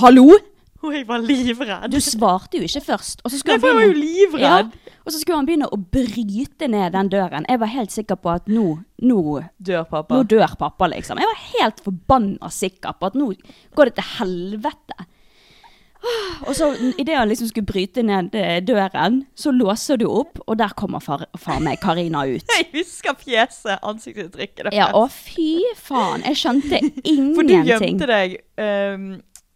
Speaker 3: 'Hallo?'
Speaker 4: Og jeg var livredd.
Speaker 3: Du svarte jo ikke først. Og så
Speaker 4: Nei,
Speaker 3: skulle
Speaker 4: for jeg var
Speaker 3: han
Speaker 4: jo livredd.
Speaker 3: begynne, ja, og så skulle han begynne å bryte ned den døren. Jeg var helt sikker på at nå, nå,
Speaker 4: Dør pappa.
Speaker 3: nå dør pappa, liksom. Jeg var helt forbanna sikker på at nå går det til helvete. Og så idet han liksom skulle bryte ned eh, døren, så låser du opp, og der kommer far, far meg, Karina, ut.
Speaker 4: Jeg husker fjeset, ansiktsuttrykket deres.
Speaker 3: Ja, å fy faen. Jeg skjønte ingenting.
Speaker 4: For du gjemte deg. ehm,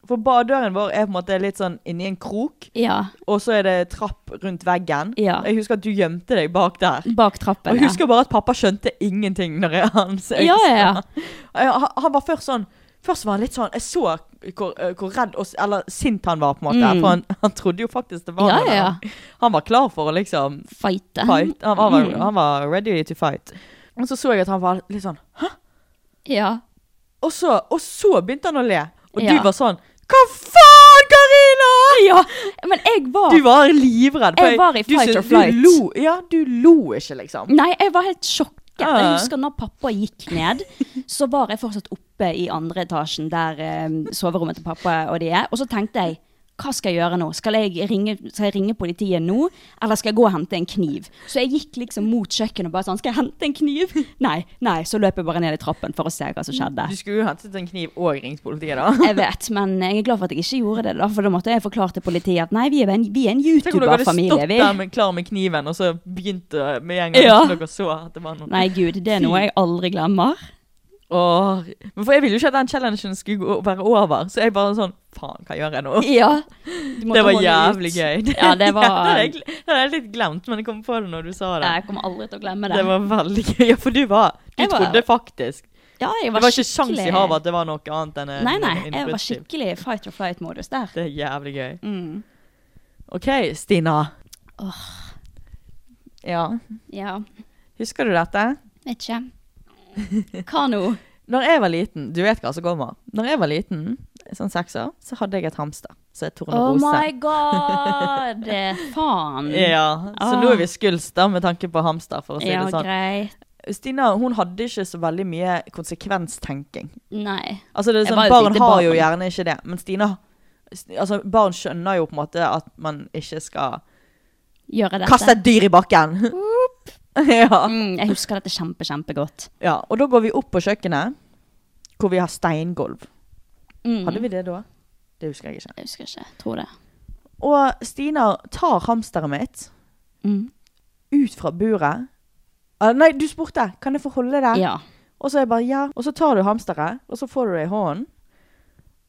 Speaker 4: for baddøren vår er på en måte litt sånn inni en krok,
Speaker 3: Ja,
Speaker 4: og så er det trapp rundt veggen.
Speaker 3: Ja.
Speaker 4: Jeg husker at du gjemte deg bak der.
Speaker 3: bak trappen.
Speaker 4: Og jeg
Speaker 3: ja.
Speaker 4: husker bare at pappa skjønte ingenting når jeg han så jeg
Speaker 3: Ja, ja, ja.
Speaker 4: sa- Ja, Han, han var først sånn Først var han litt sånn Jeg så hvor, eh, hvor redd og s- eller sint han var, på en måte.
Speaker 3: Mm.
Speaker 4: For han, han trodde jo faktisk det var
Speaker 3: Ja,
Speaker 4: noe
Speaker 3: ja,
Speaker 4: der.
Speaker 3: ja.
Speaker 4: Han var klar for å liksom
Speaker 3: Fighte.
Speaker 4: fight. Han, han, var,
Speaker 3: Mm.
Speaker 4: han var ready to fight. Og så så jeg at han var litt sånn
Speaker 3: Ja.
Speaker 4: Og så, og så begynte han å le. Og
Speaker 3: Ja.
Speaker 4: du var sånn Hva faen, Karina?!
Speaker 3: ja. Men jeg var
Speaker 4: Du var livredd. for
Speaker 3: Jeg var i
Speaker 4: du
Speaker 3: fight
Speaker 4: så-
Speaker 3: or flight.
Speaker 4: Du lo, ja, du lo ikke, liksom.
Speaker 3: Nei, jeg var helt sjokket. Jeg
Speaker 4: Ja.
Speaker 3: husker når pappa gikk ned, så var jeg fortsatt oppe i andre etasjen der eh, soverommet til pappa og de er. Og så tenkte jeg hva skal jeg gjøre nå? Skal jeg, ringe, skal jeg ringe politiet nå, eller skal jeg gå og hente en kniv? Så jeg gikk liksom mot kjøkkenet og bare sånn, skal jeg hente en kniv? Nei, nei, så løp jeg bare ned i trappen for å se hva som skjedde.
Speaker 4: Du skulle jo hentet en kniv og ringt politiet, da.
Speaker 3: Jeg vet, men jeg er glad for at jeg ikke gjorde det, da, for da måtte jeg forklare til politiet at nei, vi er en, vi er en
Speaker 4: Tenk om dere hadde
Speaker 3: YouTuber-familie,
Speaker 4: stått
Speaker 3: vi.
Speaker 4: der med, klar med kniven, og så begynte med en gang
Speaker 3: Ja.
Speaker 4: dere så at det var noe.
Speaker 3: Nei, gud, det er noe jeg aldri glemmer.
Speaker 4: Åh, men for jeg ville jo ikke at den challengen skulle gå- være over, så jeg bare sånn Faen, hva gjør jeg nå?
Speaker 3: Ja.
Speaker 4: Det var jævlig gøy.
Speaker 3: Ja, det var...
Speaker 4: det hadde jeg, gle- det hadde jeg litt glemt, men jeg kom på det når du sa det.
Speaker 3: Nei, jeg kommer aldri til å glemme det.
Speaker 4: Det var veldig gøy. Ja, for du var Du
Speaker 3: Jeg var-
Speaker 4: trodde faktisk
Speaker 3: ja, jeg
Speaker 4: Det var ikke sjans i
Speaker 3: skikkelig-
Speaker 4: havet at det var noe annet enn en-
Speaker 3: Nei, nei,
Speaker 4: en
Speaker 3: jeg var
Speaker 4: brødskive.
Speaker 3: skikkelig fight or flight-modus der.
Speaker 4: Det er jævlig gøy.
Speaker 3: Mm.
Speaker 4: OK, Stina.
Speaker 3: Åh.
Speaker 4: Ja.
Speaker 3: Ja,
Speaker 4: Husker du dette?
Speaker 3: vet ikke. Hva nå?
Speaker 4: Når jeg var liten, du vet hva som kommer. Når jeg var liten, sånn seks år, så hadde jeg et hamster. Så et
Speaker 3: Oh
Speaker 4: tornerose.
Speaker 3: my god! Faen.
Speaker 4: Ja, så
Speaker 3: Ah.
Speaker 4: nå er vi skuls da, med tanke på hamster, for å si
Speaker 3: Ja,
Speaker 4: det sånn.
Speaker 3: greit.
Speaker 4: Stina hun hadde ikke så veldig mye konsekvenstenking.
Speaker 3: Nei.
Speaker 4: Altså det er
Speaker 3: Jeg
Speaker 4: sånn,
Speaker 3: var jo et
Speaker 4: Barn
Speaker 3: lite
Speaker 4: har
Speaker 3: barn.
Speaker 4: jo gjerne ikke det, men Stina altså Barn skjønner jo på en måte at man ikke skal
Speaker 3: Gjøre dette.
Speaker 4: kaste et dyr i bakken. ja.
Speaker 3: Mm, jeg husker dette kjempe, kjempegodt.
Speaker 4: ja. Og da går vi opp på kjøkkenet, hvor vi har steingulv.
Speaker 3: Mm.
Speaker 4: Hadde vi det da? Det husker jeg ikke.
Speaker 3: Jeg husker ikke. Tror det.
Speaker 4: Og Stina tar hamsteret mitt
Speaker 3: Mm.
Speaker 4: ut fra buret. Ah, nei, du spurte! Kan jeg få holde det?
Speaker 3: Ja.
Speaker 4: Og så er jeg bare ja. Og så tar du hamsteret, og så får du det i hånden.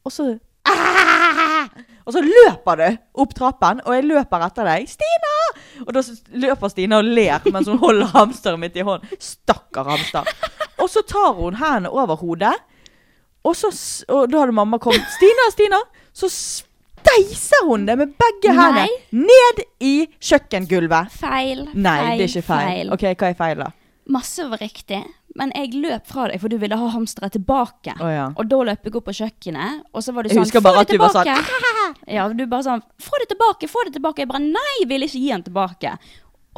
Speaker 4: Og så Ah! Og så løper du opp trappen, og jeg løper etter deg. 'Stina!' Og da s- løper Stina og ler mens hun holder hamsteret mitt i hånden. Stakkar hamster. Og så tar hun hendene over hodet, og, så, s- og da hadde mamma kommet. 'Stina, Stina!' Så steiser hun det med begge hendene
Speaker 3: Nei.
Speaker 4: ned i kjøkkengulvet.
Speaker 3: Feil.
Speaker 4: Nei, det er ikke feil. OK, hva er feil, da?
Speaker 3: Masse var riktig, men jeg løp fra deg, for du ville ha hamsteret tilbake.
Speaker 4: Å ja.
Speaker 3: Og da løp jeg opp på kjøkkenet, og så var du
Speaker 4: Jeg
Speaker 3: sånn
Speaker 4: husker bare
Speaker 3: «Få
Speaker 4: at
Speaker 3: det
Speaker 4: du var
Speaker 3: tilbake!» Ja, du bare sånn Få det tilbake, få det tilbake! Jeg bare nei, jeg vil ikke gi den tilbake.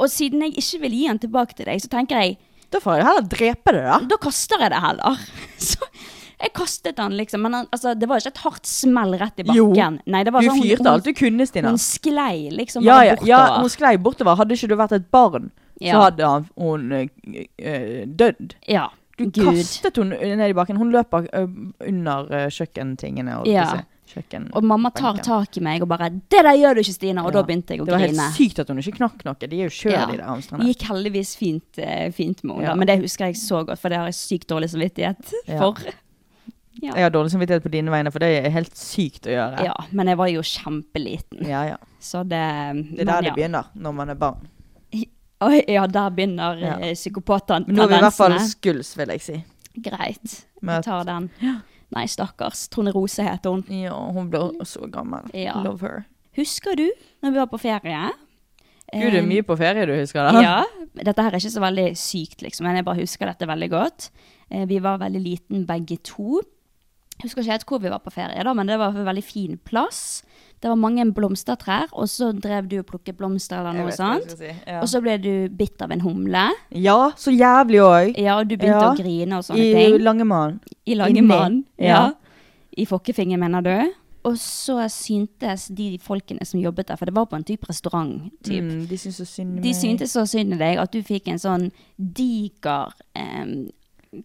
Speaker 3: Og siden jeg ikke vil gi den tilbake til deg, så tenker jeg
Speaker 4: Da får jeg heller drepe det, da.
Speaker 3: da kaster jeg det heller. Så jeg kastet den, liksom. Men han, altså, det var ikke et hardt smell rett i
Speaker 4: Jo.
Speaker 3: bakken. Nei, det var
Speaker 4: Du
Speaker 3: sånn, hun-
Speaker 4: fyrte
Speaker 3: hun-
Speaker 4: alt du kunne, Stina.
Speaker 3: Hun sklei liksom
Speaker 4: ja,
Speaker 3: bare
Speaker 4: ja,
Speaker 3: bortover.
Speaker 4: ja, hun sklei bortover. Hadde ikke du vært et barn, så
Speaker 3: Ja.
Speaker 4: hadde han, hun eh, eh, dødd.
Speaker 3: Ja,
Speaker 4: Du
Speaker 3: Gud.
Speaker 4: kastet hun ned i bakken. Hun løper eh, under eh, kjøkkentingene. holdt jeg
Speaker 3: Ja.
Speaker 4: på å si. Kjøkken
Speaker 3: Og mamma tar
Speaker 4: benken.
Speaker 3: tak i meg og bare 'Det der gjør du ikke, Stina!' Og
Speaker 4: Ja.
Speaker 3: da begynte jeg å
Speaker 4: Det var
Speaker 3: grine.
Speaker 4: helt sykt at hun ikke knakk noe. De er jo sjøl,
Speaker 3: Ja.
Speaker 4: de der
Speaker 3: Det
Speaker 4: hamstrene.
Speaker 3: gikk heldigvis fint, eh, fint med henne,
Speaker 4: Ja.
Speaker 3: da, men det husker jeg så godt, for det har jeg sykt dårlig samvittighet
Speaker 4: Ja.
Speaker 3: for. Ja.
Speaker 4: Jeg har dårlig samvittighet på dine vegne, for det er helt sykt å gjøre.
Speaker 3: Ja, men jeg var jo kjempeliten,
Speaker 4: ja, ja.
Speaker 3: så det
Speaker 4: Det er der det begynner, når man er barn.
Speaker 3: Oi, ja, der begynner
Speaker 4: Ja.
Speaker 3: eh, psykopatene.
Speaker 4: Men nå er vi i hvert
Speaker 3: sånn
Speaker 4: fall skuls, vil jeg si.
Speaker 3: Greit,
Speaker 4: Med at-
Speaker 3: jeg tar den. Nei, stakkars. Trone Rose heter hun.
Speaker 4: Ja, hun ble så gammel.
Speaker 3: Ja.
Speaker 4: Love her.
Speaker 3: Husker du når vi var på ferie?
Speaker 4: Gud, det er mye på ferie du husker, da.
Speaker 3: Eh. Ja. Dette her er ikke så veldig sykt, liksom, men jeg bare husker dette veldig godt. Eh, Vi var veldig liten begge to. Jeg husker ikke helt hvor vi var på ferie, da, men det var en veldig fin plass. Det var mange blomstertrær, og så drev du og plukket blomster eller
Speaker 4: Jeg
Speaker 3: noe
Speaker 4: vet hva jeg
Speaker 3: sånt.
Speaker 4: skal si, ja.
Speaker 3: Og så ble du bitt av en humle,
Speaker 4: Ja, så jævlig òg.
Speaker 3: ja, og du begynte
Speaker 4: Ja.
Speaker 3: å grine og sånne
Speaker 4: I
Speaker 3: ting.
Speaker 4: Langemann.
Speaker 3: I
Speaker 4: inni.
Speaker 3: langemann.
Speaker 4: Ja.
Speaker 3: Ja. I fokkefingeren, mener du. Og så syntes de folkene som jobbet der, for det var på en type restaurant, typ.
Speaker 4: Mm, de syntes så synd
Speaker 3: De syntes så synd i deg at du fikk en sånn diger em,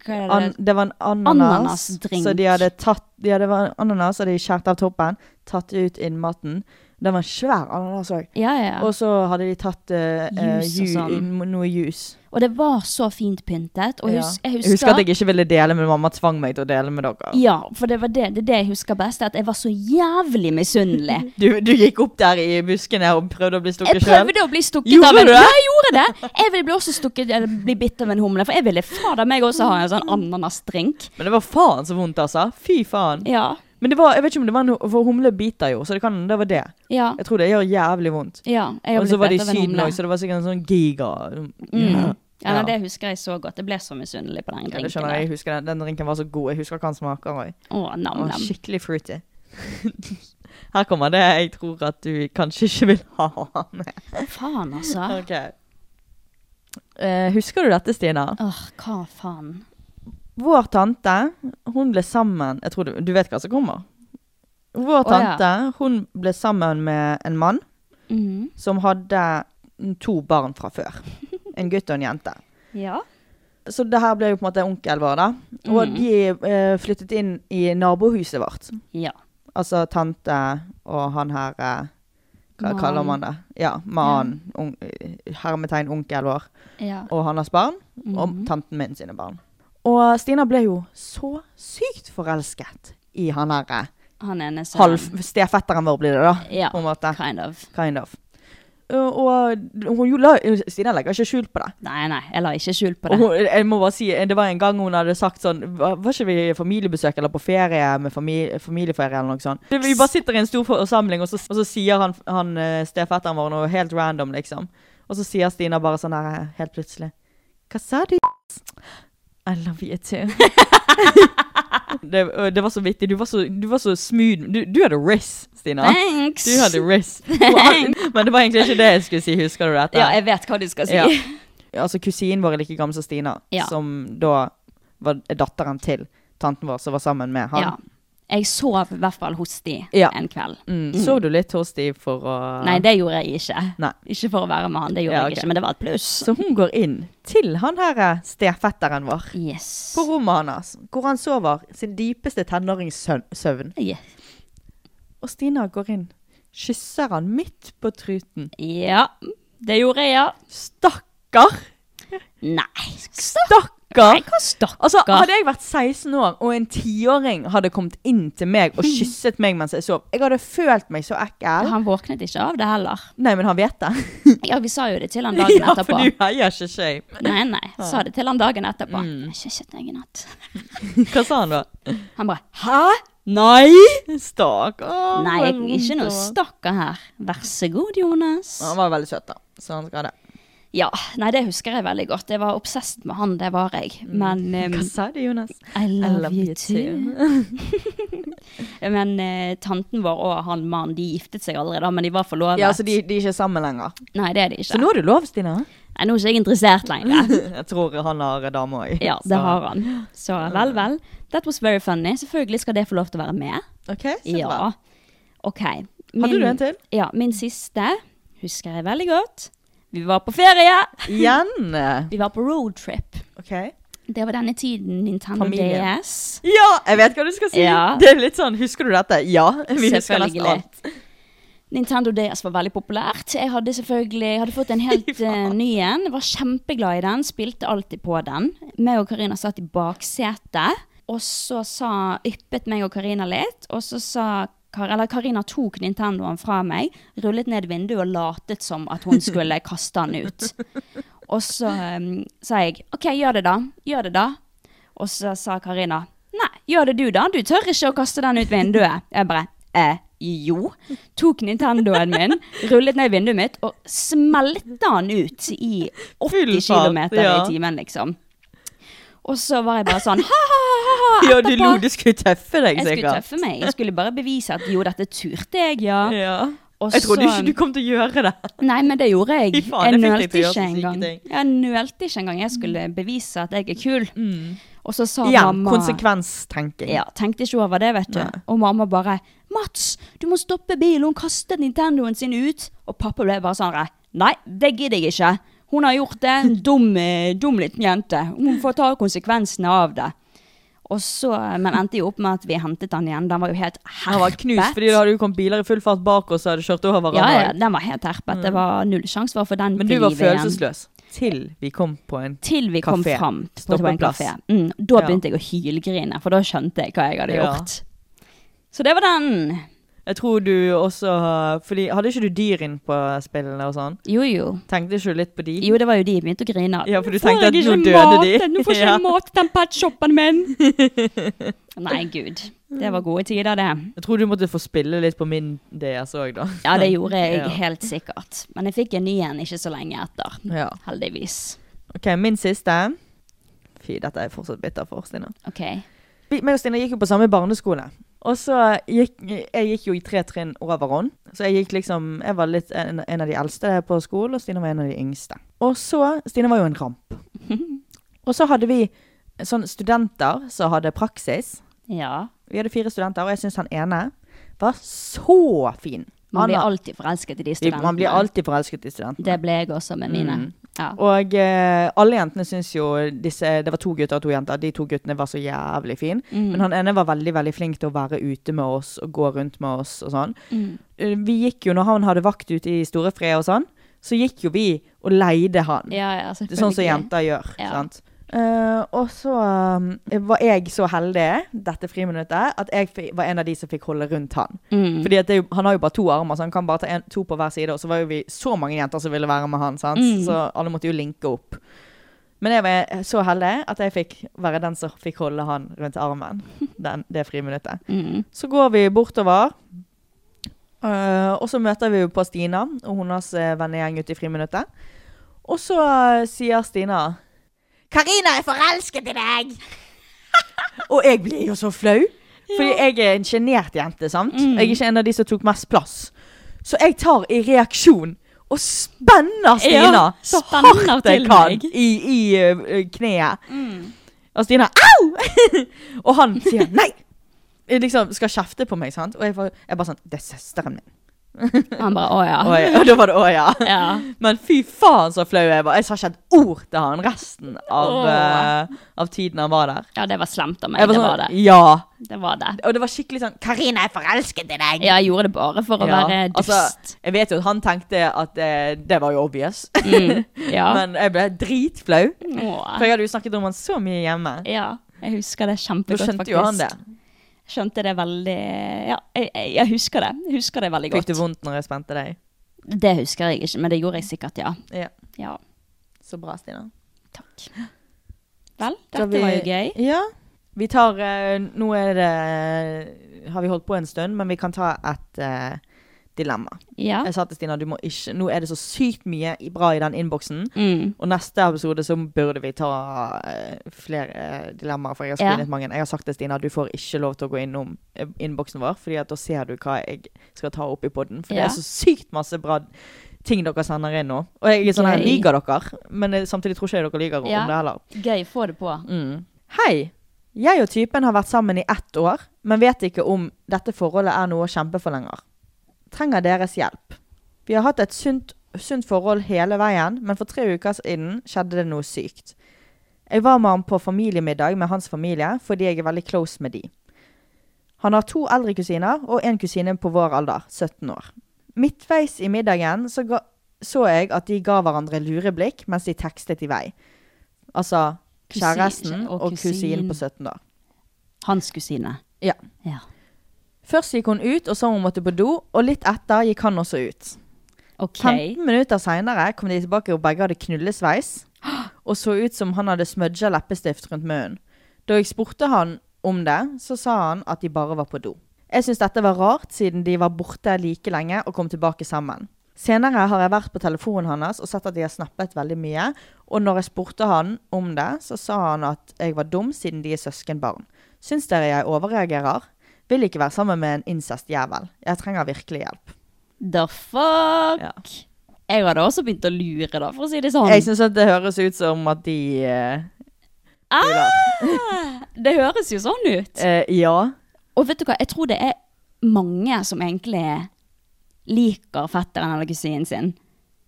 Speaker 3: Hva er det?
Speaker 4: An, det var en ananas.
Speaker 3: Ananasdrink.
Speaker 4: Så de hadde tatt ja, det var en ananas, og de skjærte av toppen, tatt ut innmaten. Det var en svær ananas òg.
Speaker 3: ja, ja. ja.
Speaker 4: Og så hadde de tatt eh, eh,
Speaker 3: Juice og
Speaker 4: ju-
Speaker 3: sånn.
Speaker 4: noe juice.
Speaker 3: Og det var så fint pyntet. Og
Speaker 4: Ja.
Speaker 3: hus, jeg husker,
Speaker 4: Jeg husker at jeg ikke ville dele, men mamma tvang meg til å dele med dere.
Speaker 3: Ja, for det var det, det, er det jeg husker best, at jeg var så jævlig misunnelig.
Speaker 4: Du, du gikk opp der i buskene og prøvde å bli
Speaker 3: Jeg
Speaker 4: stukket sjøl.
Speaker 3: prøvde å bli stukket
Speaker 4: Gjorde
Speaker 3: av en
Speaker 4: du det?
Speaker 3: Ja, jeg gjorde det! Jeg ville bli også stukket Eller bli bitt av en humle, for jeg ville fader meg også ha en sånn ananasdrink.
Speaker 4: Men det var faen så vondt, altså. Fy faen.
Speaker 3: Ja.
Speaker 4: Men det var, jeg vet ikke om det var noe, for humle biter jo, så det kan det var det.
Speaker 3: Ja.
Speaker 4: Jeg tror det gjør jævlig vondt.
Speaker 3: ja jeg har
Speaker 4: Og så
Speaker 3: blitt
Speaker 4: var det i
Speaker 3: bitt av en
Speaker 4: Syden
Speaker 3: humle.
Speaker 4: òg, så det var sikkert en sånn giga
Speaker 3: Mm. Ja,
Speaker 4: Ja.
Speaker 3: men Det husker jeg så godt. Jeg ble så misunnelig på den
Speaker 4: Ja, det
Speaker 3: drinken.
Speaker 4: skjønner jeg.
Speaker 3: der.
Speaker 4: jeg husker den. den drinken var så god. Jeg husker hva den smaker òg.
Speaker 3: Å, nam, nam.
Speaker 4: Skikkelig fruity. Her kommer det jeg tror at du kanskje ikke vil ha med.
Speaker 3: Faen, altså.
Speaker 4: Ok. Eh, husker du dette, Stina?
Speaker 3: Åh, hva faen?
Speaker 4: Vår tante, hun ble sammen Jeg tror du, du vet hva som kommer. Vår
Speaker 3: Å, ja.
Speaker 4: tante hun ble sammen med en mann
Speaker 3: Mhm.
Speaker 4: som hadde to barn fra før. En gutt og en jente.
Speaker 3: Ja.
Speaker 4: Så det her ble jo på en måte onkelen vår, da. Og
Speaker 3: Mhm.
Speaker 4: de eh, flyttet inn i nabohuset vårt.
Speaker 3: Ja.
Speaker 4: Altså tante og han her eh, Hva
Speaker 3: Man.
Speaker 4: kaller man det? Ja, mannen. Un, hermetegn onkel vår.
Speaker 3: ja.
Speaker 4: Og hans barn.
Speaker 3: Mm.
Speaker 4: Og tanten min sine barn. Og Stina ble jo så sykt forelsket i han herre
Speaker 3: Han ene som
Speaker 4: halv stefetteren vår, blir det da.
Speaker 3: Sånn. Ja,
Speaker 4: På en måte.
Speaker 3: kind of.
Speaker 4: Kind of. Og, og hun, jo la- Stina legger ikke skjul på det.
Speaker 3: Nei, nei, jeg la ikke skjul på
Speaker 4: Og
Speaker 3: det.
Speaker 4: hun, jeg må bare si, eh, Det var en gang hun hadde sagt sånn Var var ikke vi i familiebesøk eller på ferie med familie, familieferie eller noe sånt? Vi bare sitter i en stor forsamling, og så, og så sier han, han eh, stefetteren vår noe helt random, liksom. Og så sier Stina bare sånn her eh, helt plutselig Hva sa du? I love you too. det, og det var så vittig. Du var så, du var så smooth. Du, du hadde riss, Stina.
Speaker 3: Thanks!
Speaker 4: Du hadde riss. Men det var egentlig ikke det jeg skulle si. Husker du dette?
Speaker 3: Ja, jeg vet hva du skal si.
Speaker 4: Ja. Altså kusinen vår er like gammel som Stina,
Speaker 3: Ja.
Speaker 4: som da var er datteren til tanten vår som var sammen med han.
Speaker 3: Ja. Jeg sov i hvert fall hos de
Speaker 4: Ja.
Speaker 3: en kveld.
Speaker 4: Mm. Sov du litt hos de for å
Speaker 3: Nei, det gjorde jeg ikke.
Speaker 4: Nei.
Speaker 3: Ikke for å være med han, det gjorde
Speaker 4: Ja, ok.
Speaker 3: jeg ikke, men det var et pluss.
Speaker 4: Så hun går inn til han her eh, stefetteren vår
Speaker 3: Yes.
Speaker 4: på rommet hans, hvor han sover sin dypeste tenåringssøvn.
Speaker 3: Yes.
Speaker 4: Og Stina går inn, kysser han midt på truten.
Speaker 3: Ja, det gjorde jeg, ja.
Speaker 4: Stakkar!
Speaker 3: Nei. Nei,
Speaker 4: Stakkar!
Speaker 3: hva stakkar?
Speaker 4: Altså, Hadde jeg vært 16 år, og en tiåring hadde kommet inn til meg og kysset meg mens jeg sov, jeg hadde følt meg så ekkel.
Speaker 3: Han våknet ikke av det heller.
Speaker 4: Nei, men han vet det.
Speaker 3: Ja, vi sa jo det til han dagen
Speaker 4: ja,
Speaker 3: etterpå.
Speaker 4: for du heier ikke shame.
Speaker 3: Nei, nei, sa det til han dagen etterpå.
Speaker 4: Mm.
Speaker 3: Jeg kysset deg i natt.
Speaker 4: Hva sa han da?
Speaker 3: Han bare,
Speaker 4: Hæ? Nei! Stakkar.
Speaker 3: nei,
Speaker 4: det
Speaker 3: jeg,
Speaker 4: var
Speaker 3: ikke
Speaker 4: vondt,
Speaker 3: noe
Speaker 4: da.
Speaker 3: stakkar her. Vær så god, Jonas.
Speaker 4: Han var veldig søt, da. Så han skal ha det.
Speaker 3: Ja, nei, det husker jeg veldig godt. Jeg var obsesst med han, det var jeg. Men um,
Speaker 4: Mm. Hva sa du, Jonas?
Speaker 3: I love,
Speaker 4: love
Speaker 3: you
Speaker 4: you
Speaker 3: too. men eh, tanten vår og han mannen, de giftet seg allerede, da, men de var forlovet.
Speaker 4: Ja, altså, de, de er ikke sammen lenger.
Speaker 3: Nei, det er de ikke.
Speaker 4: Så nå er du lov, Stina?
Speaker 3: Nei, nå er ikke jeg interessert lenger.
Speaker 4: Jeg tror han har dame òg.
Speaker 3: Ja, det har han. Så vel, vel. That was very funny. Selvfølgelig skal det få lov til å være med.
Speaker 4: OK, så bra.
Speaker 3: Ja. Ok.
Speaker 4: Hadde du en til?
Speaker 3: Ja, min siste husker jeg veldig godt. Vi var på ferie.
Speaker 4: Igjen.
Speaker 3: Vi var på roadtrip.
Speaker 4: OK.
Speaker 3: Det var denne tiden Nintendo
Speaker 4: Familie.
Speaker 3: DS.
Speaker 4: Ja, jeg vet hva du skal si.
Speaker 3: Ja.
Speaker 4: Det er litt sånn Husker du dette? Ja. Vi husker nesten
Speaker 3: Selvfølgelig.
Speaker 4: alt.
Speaker 3: Nintendo DS var veldig populært. Jeg hadde selvfølgelig jeg hadde fått en helt eh, ny en. Var kjempeglad i den, spilte alltid på den. Meg og Karina satt i baksetet, og så sa, yppet meg og Karina litt. Og så sa Kar eller Karina tok Nintendoen fra meg, rullet ned vinduet og latet som at hun skulle kaste den ut. Og så eh, sa jeg OK, gjør det, da. Gjør det, da. Og så sa Karina Nei, gjør det du da, du tør ikke å kaste den ut vinduet. Jeg bare eh, jo. Tok Nintendoen min, rullet ned vinduet mitt og smelte den ut i 80
Speaker 4: Full fart,
Speaker 3: km
Speaker 4: ja.
Speaker 3: i timen, liksom. Og så var jeg bare sånn ha-ha-ha
Speaker 4: Ja, du lo. Du skulle tøffe deg,
Speaker 3: Jeg skulle
Speaker 4: sikkert.
Speaker 3: tøffe meg. Jeg skulle bare bevise at jo, dette turte jeg, ja.
Speaker 4: Ja.
Speaker 3: Og sånn.
Speaker 4: Jeg trodde
Speaker 3: så-
Speaker 4: ikke du kom til å gjøre det.
Speaker 3: Nei, men det gjorde jeg.
Speaker 4: Fy faen,
Speaker 3: jeg
Speaker 4: det fikk deg
Speaker 3: nølte
Speaker 4: til å gjøre
Speaker 3: ikke
Speaker 4: så syke
Speaker 3: engang.
Speaker 4: ting.
Speaker 3: Jeg nølte ikke engang. Jeg skulle bevise at jeg er kul.
Speaker 4: Mm.
Speaker 3: Og så sa
Speaker 4: Igjen,
Speaker 3: mamma
Speaker 4: konsekvenstenking.
Speaker 3: Ja, tenkte ikke over det, vet du. Og mamma bare 'Mats, du må stoppe bilen, hun kastet Nintendoen sin ut.' Og pappa ble bare sånn 'Nei, det gidder jeg ikke. Hun har gjort det, en dum, eh, dum liten jente. Hun får ta konsekvensene av det.' Og så, eh, Men endte jo opp med at vi hentet han igjen. Den var jo helt herpet.
Speaker 4: Han var knust, fordi da hadde jo kommet biler i full fart bak oss og hadde kjørt over
Speaker 3: ja,
Speaker 4: hverandre.
Speaker 3: ja, den var helt herpet. Det var null sjanse for å få den
Speaker 4: Mm. Men du
Speaker 3: til
Speaker 4: var
Speaker 3: live igjen.
Speaker 4: følelsesløs til vi kom på en
Speaker 3: Til vi kom
Speaker 4: Kafé.
Speaker 3: fram. til-
Speaker 4: Stopp
Speaker 3: det var
Speaker 4: en plass.
Speaker 3: kafé. Mm, da
Speaker 4: Ja.
Speaker 3: begynte jeg å hylgrine, for da skjønte jeg hva jeg hadde
Speaker 4: Ja.
Speaker 3: gjort. Så det var den.
Speaker 4: Jeg tror du også Fordi Hadde ikke du dyr inn på spillene og sånn?
Speaker 3: Jo, jo.
Speaker 4: Tenkte ikke du litt på de?
Speaker 3: Jo, det var jo de jeg begynte å grine av.
Speaker 4: Ja, for du
Speaker 3: Nå får
Speaker 4: tenkte at
Speaker 3: jeg ikke
Speaker 4: nå døde de.
Speaker 3: matet, Nå får ikke
Speaker 4: Ja.
Speaker 3: jeg mat den petshoppen min. Nei, gud. Det var gode tider, det.
Speaker 4: Jeg tror du måtte få spille litt på min DS òg, da.
Speaker 3: Ja, det gjorde jeg
Speaker 4: Ja.
Speaker 3: helt sikkert. Men jeg fikk en ny en ikke så lenge etter.
Speaker 4: Ja.
Speaker 3: Heldigvis.
Speaker 4: OK, min siste. Fy, dette er jeg fortsatt bitter for, Stina.
Speaker 3: OK.
Speaker 4: Vi, meg og Stina gikk jo på samme barneskole. Og så gikk jeg gikk jo i tre trinn over henne. Så jeg gikk liksom Jeg var litt en, en av de eldste på skolen, og Stina var en av de yngste. Og så Stina var jo en ramp. Og så hadde vi sånn studenter som hadde praksis.
Speaker 3: Ja.
Speaker 4: Vi hadde fire studenter, og jeg syns han ene var så fin.
Speaker 3: Man blir
Speaker 4: Anna-
Speaker 3: alltid forelsket i
Speaker 4: Vi-
Speaker 3: de studentene.
Speaker 4: man blir alltid forelsket i studentene.
Speaker 3: Det ble jeg også med mine. Ja.
Speaker 4: Og eh, alle jentene syns jo disse, Det var to gutter og to jenter. De to guttene var så jævlig fine.
Speaker 3: Mm.
Speaker 4: Men han ene var veldig veldig flink til å være ute med oss og gå rundt med oss og sånn.
Speaker 3: Mm.
Speaker 4: Eh, Vi gikk jo, når han hadde vakt ute i Storefred og sånn, så gikk jo vi og leide han.
Speaker 3: Ja, ja,
Speaker 4: Det er sånn som
Speaker 3: selvfølgelig.
Speaker 4: jenter gjør.
Speaker 3: Ja.
Speaker 4: sant? Eh, og så eh, var jeg så heldig dette friminuttet at jeg fi- var en av de som fikk holde rundt han.
Speaker 3: Mm.
Speaker 4: Fordi at det, er jo- Han har jo bare to armer, så han kan bare ta en, to på hver side. Og så var jo vi så mange jenter som ville være med han, sant? så alle måtte jo linke opp. Men jeg var så heldig at jeg fikk være den som fikk holde han rundt armen den, det friminuttet. Så går vi bortover, eh, og så møter vi jo på Stina og hennes eh, vennegjeng ute i friminuttet. Og så eh, sier Stina Karina er forelsket i deg! og jeg blir jo så flau. Fordi jeg er en sjenert jente, sant?
Speaker 3: Mm.
Speaker 4: Jeg er ikke en av de som tok mest plass. Så jeg tar i reaksjon og spenner Stina
Speaker 3: Ja,
Speaker 4: så
Speaker 3: spenner
Speaker 4: hardt
Speaker 3: til
Speaker 4: jeg
Speaker 3: Mm.
Speaker 4: kan
Speaker 3: deg.
Speaker 4: i, i eh, kneet. Og Stina Au! og han sier nei! Jeg Liksom skal kjefte på meg, sant? Og jeg, var, jeg bare sånn Det er søsteren min.
Speaker 3: Han bare å ja.
Speaker 4: Og, jeg, og da var det å ja.
Speaker 3: Ja.
Speaker 4: Men fy faen så flau jeg var. Jeg sa ikke et ord til han resten av,
Speaker 3: Åh.
Speaker 4: eh, av tiden han var der.
Speaker 3: ja, det var slemt av meg.
Speaker 4: Jeg
Speaker 3: Det
Speaker 4: var
Speaker 3: var
Speaker 4: sånn,
Speaker 3: det.
Speaker 4: Ja.
Speaker 3: det var det.
Speaker 4: Og det var skikkelig sånn Karina er forelsket i deg!
Speaker 3: Ja, jeg gjorde det bare for å
Speaker 4: Ja,
Speaker 3: være dust.
Speaker 4: altså, jeg vet jo at han tenkte at eh, det var jo obvious,
Speaker 3: Mm, ja.
Speaker 4: men jeg ble dritflau.
Speaker 3: Åh.
Speaker 4: For jeg hadde jo snakket om han så mye hjemme.
Speaker 3: ja. Jeg husker det
Speaker 4: Da
Speaker 3: kjempegodt,
Speaker 4: skjønte
Speaker 3: faktisk.
Speaker 4: jo han det.
Speaker 3: Skjønte det veldig Ja, jeg, jeg- jeg husker det. Jeg husker det veldig
Speaker 4: Fikk
Speaker 3: godt.
Speaker 4: det vondt når jeg spente deg?
Speaker 3: Det husker jeg ikke, men det gjorde jeg sikkert, ja.
Speaker 4: Ja.
Speaker 3: ja.
Speaker 4: Så bra, Stina.
Speaker 3: Takk. Vel,
Speaker 4: Så
Speaker 3: dette var jo gøy.
Speaker 4: Ja. Vi tar eh, Nå er det eh, Har vi holdt på en stund, men vi kan ta et eh, dilemma.
Speaker 3: Ja.
Speaker 4: Jeg sa til Stina du må ikke Nå er det så sykt mye i- bra i den innboksen.
Speaker 3: Mm.
Speaker 4: Og neste episode så burde vi ta eh, flere eh, dilemmaer, for jeg har
Speaker 3: Ja.
Speaker 4: screenet mange. Jeg har sagt til Stina du får ikke lov til å gå innom eh, innboksen vår, Fordi at da ser du hva jeg skal ta opp i podden. For
Speaker 3: Ja.
Speaker 4: det er så sykt masse bra ting dere sender inn nå. Og jeg er sånn her,
Speaker 3: Gøy.
Speaker 4: lyger dere? Men eh, samtidig tror ikke jeg dere lyger
Speaker 3: Ja. Mm.
Speaker 4: om det heller.
Speaker 3: Gøy. Få det på.
Speaker 4: Hei. Jeg og typen har vært sammen i ett år, men vet ikke om dette forholdet er noe å kjempe for lenger. Trenger deres hjelp. Vi har hatt et sunt, sunt forhold hele veien, men for tre uker siden skjedde det noe sykt. Jeg var med ham på familiemiddag med hans familie fordi jeg er veldig close med de. Han har to eldre kusiner og en kusine på vår alder, 17 år. Midtveis i middagen så, ga, så jeg at de ga hverandre lure blikk mens de tekstet i vei. Altså
Speaker 3: Kusin-
Speaker 4: kjæresten
Speaker 3: og
Speaker 4: og, kusinen
Speaker 3: kusin.
Speaker 4: på 17 år.
Speaker 3: Hans kusine.
Speaker 4: Ja.
Speaker 3: Ja.
Speaker 4: Først gikk hun ut og sa hun måtte på do, og litt etter gikk han også ut.
Speaker 3: OK.
Speaker 4: 15 minutter seinere kom de tilbake og begge hadde knullesveis og så ut som han hadde smudga leppestift rundt munnen. Da jeg spurte han om det, så sa han at de bare var på do. Jeg syns dette var rart, siden de var borte like lenge og kom tilbake sammen. Senere har jeg vært på telefonen hans og sett at de har snappet veldig mye, og når jeg spurte han om det, så sa han at jeg var dum siden de er søskenbarn. Syns dere jeg overreagerer? Vil ikke være sammen med en incestjævel. Jeg trenger virkelig hjelp.
Speaker 3: The fuck?
Speaker 4: Ja.
Speaker 3: Jeg hadde også begynt å lure, da, for å si det sånn.
Speaker 4: Jeg syns det høres ut som at de eh,
Speaker 3: ah, det høres jo sånn ut.
Speaker 4: eh, Ja.
Speaker 3: Og vet du hva, jeg tror det er mange som egentlig liker fetteren eller kusinen sin.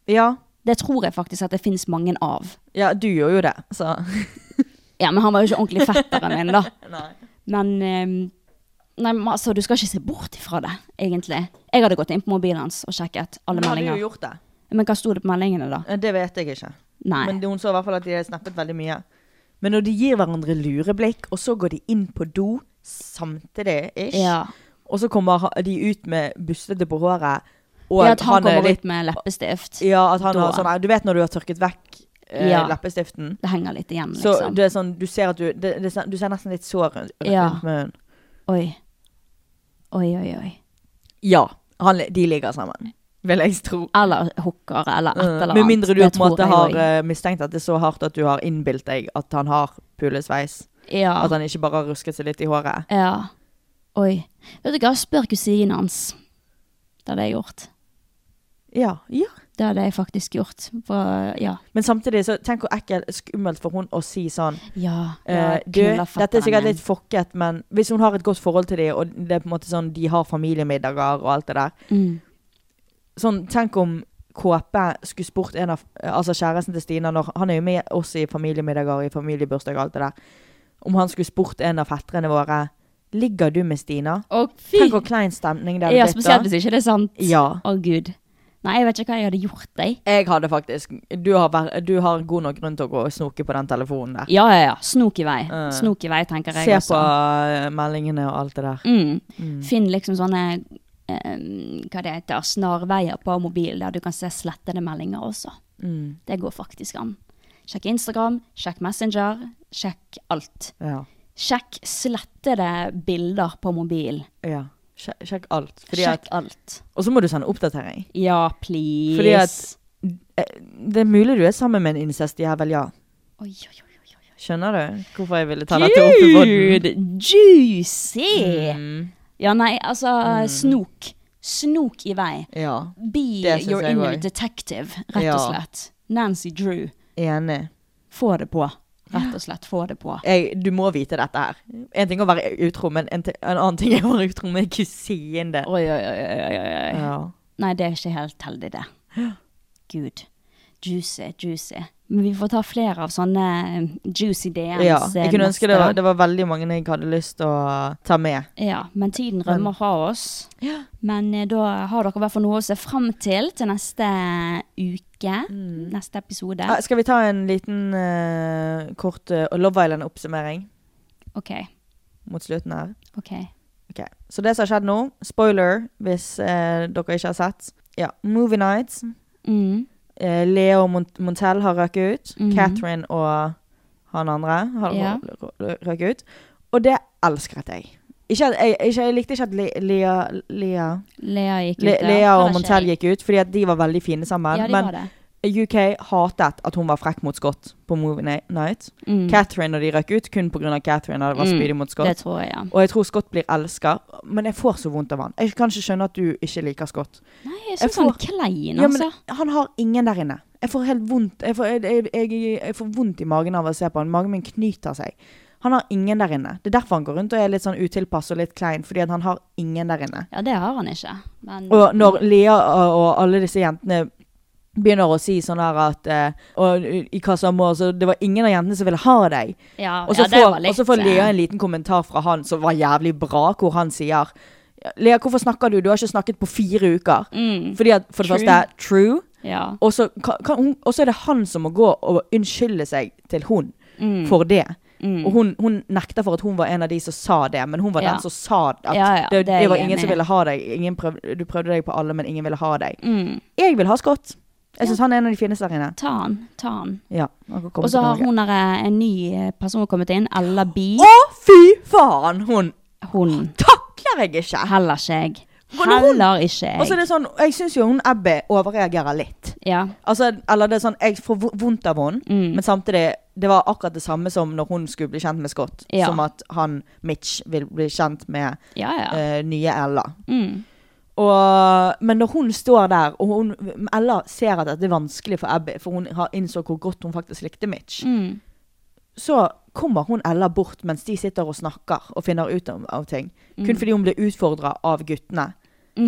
Speaker 4: Ja.
Speaker 3: Det tror jeg faktisk at det finnes mange av.
Speaker 4: Ja, du gjorde jo det, så
Speaker 3: Ja, men han var jo ikke ordentlig fetteren min, da. Men ehm, Nei, men altså, du skal ikke se bort ifra det, egentlig. Jeg hadde gått inn på mobilen hans og sjekket alle
Speaker 4: Men hadde jo
Speaker 3: meldinger.
Speaker 4: gjort det.
Speaker 3: Men hva sto det på meldingene, da?
Speaker 4: Eh, Det vet jeg ikke.
Speaker 3: Nei.
Speaker 4: Men hun så i hvert fall at de snappet veldig mye. Men når de gir hverandre lureblikk, og så går de inn på do samtidig, ish,
Speaker 3: Ja.
Speaker 4: og så kommer ha- de ut med bustete på håret, og
Speaker 3: ja, at han,
Speaker 4: er
Speaker 3: kommer
Speaker 4: litt
Speaker 3: ut med leppestift.
Speaker 4: Ja, at han
Speaker 3: da.
Speaker 4: har sånn Du vet når du har tørket vekk eh,
Speaker 3: Ja.
Speaker 4: leppestiften?
Speaker 3: Det henger litt igjen,
Speaker 4: Så
Speaker 3: liksom.
Speaker 4: det er sånn Du ser at du det, det, Du ser nesten litt sår rundt,
Speaker 3: Ja.
Speaker 4: rundt munnen.
Speaker 3: Oi. Oi, oi, oi.
Speaker 4: Ja. Han, de ligger sammen, vil jeg tro.
Speaker 3: Eller hooker, eller et eller annet.
Speaker 4: Eh, Med mindre du
Speaker 3: Det
Speaker 4: på en
Speaker 3: tror
Speaker 4: måte
Speaker 3: jeg
Speaker 4: har
Speaker 3: også.
Speaker 4: eh, mistenkt at det er så hardt at du har innbilt deg at han har pulesveis.
Speaker 3: ja.
Speaker 4: eh, At han ikke bare har rusket seg litt i håret.
Speaker 3: ja. Oi. Vet du hva, spør kusinen hans. Det hadde jeg gjort.
Speaker 4: Ja, ja.
Speaker 3: Det hadde jeg faktisk gjort. For, ja.
Speaker 4: Men samtidig, så tenk hvor ekkelt skummelt for hun å si sånn
Speaker 3: Ja.
Speaker 4: eh,
Speaker 3: jeg
Speaker 4: Du,
Speaker 3: knuller
Speaker 4: dette er
Speaker 3: fetteren
Speaker 4: sikkert litt fokket, men hvis hun har et godt forhold til dem, og det er på en måte sånn, de har familiemiddager og alt det der
Speaker 3: min. Mm.
Speaker 4: sånn, Tenk om Kåpe skulle spurt en av Altså kjæresten til Stina når, Han er jo med oss i familiemiddager i familiebursdag og alt det der Om han skulle spurt en av fettrene våre Ligger du med Stina?
Speaker 3: Og fy!
Speaker 4: Tenk hvor klein stemning det hadde
Speaker 3: Ja,
Speaker 4: blitt da.
Speaker 3: spesielt hvis ikke det er sant.
Speaker 4: Ja.
Speaker 3: Å, gud. Nei, jeg vet ikke hva jeg hadde gjort, jeg.
Speaker 4: Jeg hadde faktisk du har, vært, du har god nok grunn til å gå og snoke på den telefonen der.
Speaker 3: Ja, ja, ja. Snok i vei.
Speaker 4: Eh,
Speaker 3: Snok i vei, tenker jeg. altså.
Speaker 4: Se på
Speaker 3: også.
Speaker 4: eh, meldingene og alt det der.
Speaker 3: Mm. Finn liksom sånne eh, hva det heter, snarveier på mobilen der du kan se slettede meldinger også. Det går faktisk an. Sjekk Instagram, sjekk Messenger, sjekk alt.
Speaker 4: Ja.
Speaker 3: Sjekk slettede bilder på mobilen.
Speaker 4: ja. Sje- Sjekk alt. Fordi
Speaker 3: sjekk
Speaker 4: at,
Speaker 3: alt.
Speaker 4: og så må du sende oppdatering.
Speaker 3: Ja, please.
Speaker 4: Fordi at- Eh, Det er mulig du er sammen med en incestjævel, ja.
Speaker 3: Oi, oi, oi, oi, oi.
Speaker 4: Skjønner du hvorfor jeg ville ta dette opp i podden?
Speaker 3: Dude, Juicy!
Speaker 4: Mm.
Speaker 3: Ja, nei, altså, snok. Snok i vei.
Speaker 4: Ja.
Speaker 3: Be
Speaker 4: Det syns
Speaker 3: your
Speaker 4: jeg
Speaker 3: inner
Speaker 4: også.
Speaker 3: detective, rett og
Speaker 4: Ja.
Speaker 3: slett. Nancy Drew.
Speaker 4: Enig.
Speaker 3: Få det på. Rett og slett, få det på.
Speaker 4: Jeg, du må vite dette her. En ting er å være utro, men en, ti- en annen ting er å være utro med en kusine.
Speaker 3: Oi, oi, oi, oi, oi, oi.
Speaker 4: Ja.
Speaker 3: Nei, det er ikke helt heldig, det. Gud. Juicy, juicy. Men vi får ta flere av sånne eh, juicy DMs.
Speaker 4: ja.
Speaker 3: eh,
Speaker 4: Jeg kunne ønske
Speaker 3: neste
Speaker 4: det var,
Speaker 3: gang.
Speaker 4: det var veldig mange jeg hadde lyst til å ta med.
Speaker 3: Ja, men tiden rømmer fra oss.
Speaker 4: Ja.
Speaker 3: Men eh, da har dere i hvert fall noe å se fram til til neste eh, uke. Neste episode.
Speaker 4: Ah, Skal vi ta en liten eh, kort eh, Love Island-oppsummering
Speaker 3: OK.
Speaker 4: mot slutten her?
Speaker 3: ok.
Speaker 4: Ok, Så det som har skjedd nå, spoiler hvis eh, dere ikke har sett. Ja, Movie Nights.
Speaker 3: Mm.
Speaker 4: eh, Leo Mont Montel har røket ut.
Speaker 3: Mhm.
Speaker 4: Catherine og han andre har
Speaker 3: Ja.
Speaker 4: rø- rø- røket ut. Og det elsket jeg. Ikke, at- jeg, ikke, jeg likte ikke at Le Lea, Lea,
Speaker 3: Lea gikk ut.
Speaker 4: Le
Speaker 3: ja.
Speaker 4: Lea
Speaker 3: Det
Speaker 4: og
Speaker 3: var
Speaker 4: Montel
Speaker 3: ikke jeg.
Speaker 4: gikk ut, fordi at de var veldig fine sammen.
Speaker 3: Ja, de
Speaker 4: men
Speaker 3: var det.
Speaker 4: UK hatet at hun var frekk mot Scott på Movie Ni- Night.
Speaker 3: Mm.
Speaker 4: Catherine og de røk ut kun pga. Catherine hadde vært
Speaker 3: Mm,
Speaker 4: spydig mot
Speaker 3: Det
Speaker 4: Scott.
Speaker 3: tror jeg, ja.
Speaker 4: Og jeg tror Scott blir elsket, men jeg får så vondt av han. Jeg kan ikke skjønne at du ikke liker Scott.
Speaker 3: Nei, jeg
Speaker 4: Jeg
Speaker 3: syns han
Speaker 4: får-
Speaker 3: er klein,
Speaker 4: Ja, men
Speaker 3: altså.
Speaker 4: han har ingen der inne. Jeg får helt vondt jeg får, jeg, jeg, jeg, jeg får vondt i magen av å se på han. Magen min knyter seg. Han har ingen der inne. Det er derfor han går rundt og er litt sånn utilpass og litt klein, fordi at han har ingen der inne.
Speaker 3: Ja, det har han ikke. Men
Speaker 4: Og når Lea og og alle disse jentene begynner å si sånn her at eh, og, i hva som må, så Det var ingen av jentene som ville ha deg.
Speaker 3: ja,
Speaker 4: Og så
Speaker 3: ja, det var
Speaker 4: får,
Speaker 3: litt,
Speaker 4: og så får Lea
Speaker 3: eh,
Speaker 4: en liten kommentar fra han som var jævlig bra, hvor han sier Lea, hvorfor snakker du? Du har ikke snakket på fire uker.
Speaker 3: mm,
Speaker 4: Fordi at, for det
Speaker 3: True.
Speaker 4: første, true.
Speaker 3: Ja.
Speaker 4: Og så kan, kan hun- og så er det han som må gå og unnskylde seg til hun
Speaker 3: Mm,
Speaker 4: for det.
Speaker 3: mm.
Speaker 4: Og hun, hun nekter for at hun var en av de som sa det, men hun var
Speaker 3: Ja.
Speaker 4: den som sa at
Speaker 3: Ja, ja,
Speaker 4: det,
Speaker 3: det er
Speaker 4: det var
Speaker 3: jeg
Speaker 4: ingen
Speaker 3: enig
Speaker 4: som
Speaker 3: i.
Speaker 4: ville ha deg. Ingen prøv, du prøvde deg på alle, men ingen ville ha deg.
Speaker 3: mm.
Speaker 4: Jeg vil ha Scott. Jeg syns han er en av de fineste der inne.
Speaker 3: Ta han, ta han.
Speaker 4: Ja, han kan komme
Speaker 3: Og så
Speaker 4: til
Speaker 3: har
Speaker 4: Norge.
Speaker 3: hun der, eh, en ny eh, person kommet inn, Ella Bi.
Speaker 4: Å, fy faen! Hun
Speaker 3: Hun
Speaker 4: takler jeg ikke.
Speaker 3: Heller ikke jeg.
Speaker 4: Men hun-
Speaker 3: Heller ikke
Speaker 4: Og så er
Speaker 3: jeg.
Speaker 4: det sånn, Jeg syns jo hun Ebbe overreagerer litt.
Speaker 3: Ja.
Speaker 4: Altså, eller det er sånn, Jeg får vo- vondt av henne,
Speaker 3: Mm.
Speaker 4: men samtidig Det var akkurat det samme som når hun skulle bli kjent med Scott.
Speaker 3: Ja.
Speaker 4: Som at han Mitch vil bli kjent med
Speaker 3: Ja, ja.
Speaker 4: eh, nye Ella.
Speaker 3: Mm.
Speaker 4: Og, men når hun står der, og hun, Ella ser at det er vanskelig for Ebbe, for hun har innså hvor godt hun faktisk likte Mitch,
Speaker 3: Mm.
Speaker 4: så kommer hun Ella bort mens de sitter og snakker og finner ut av, av ting. Kun fordi hun ble utfordra av guttene.
Speaker 3: mm.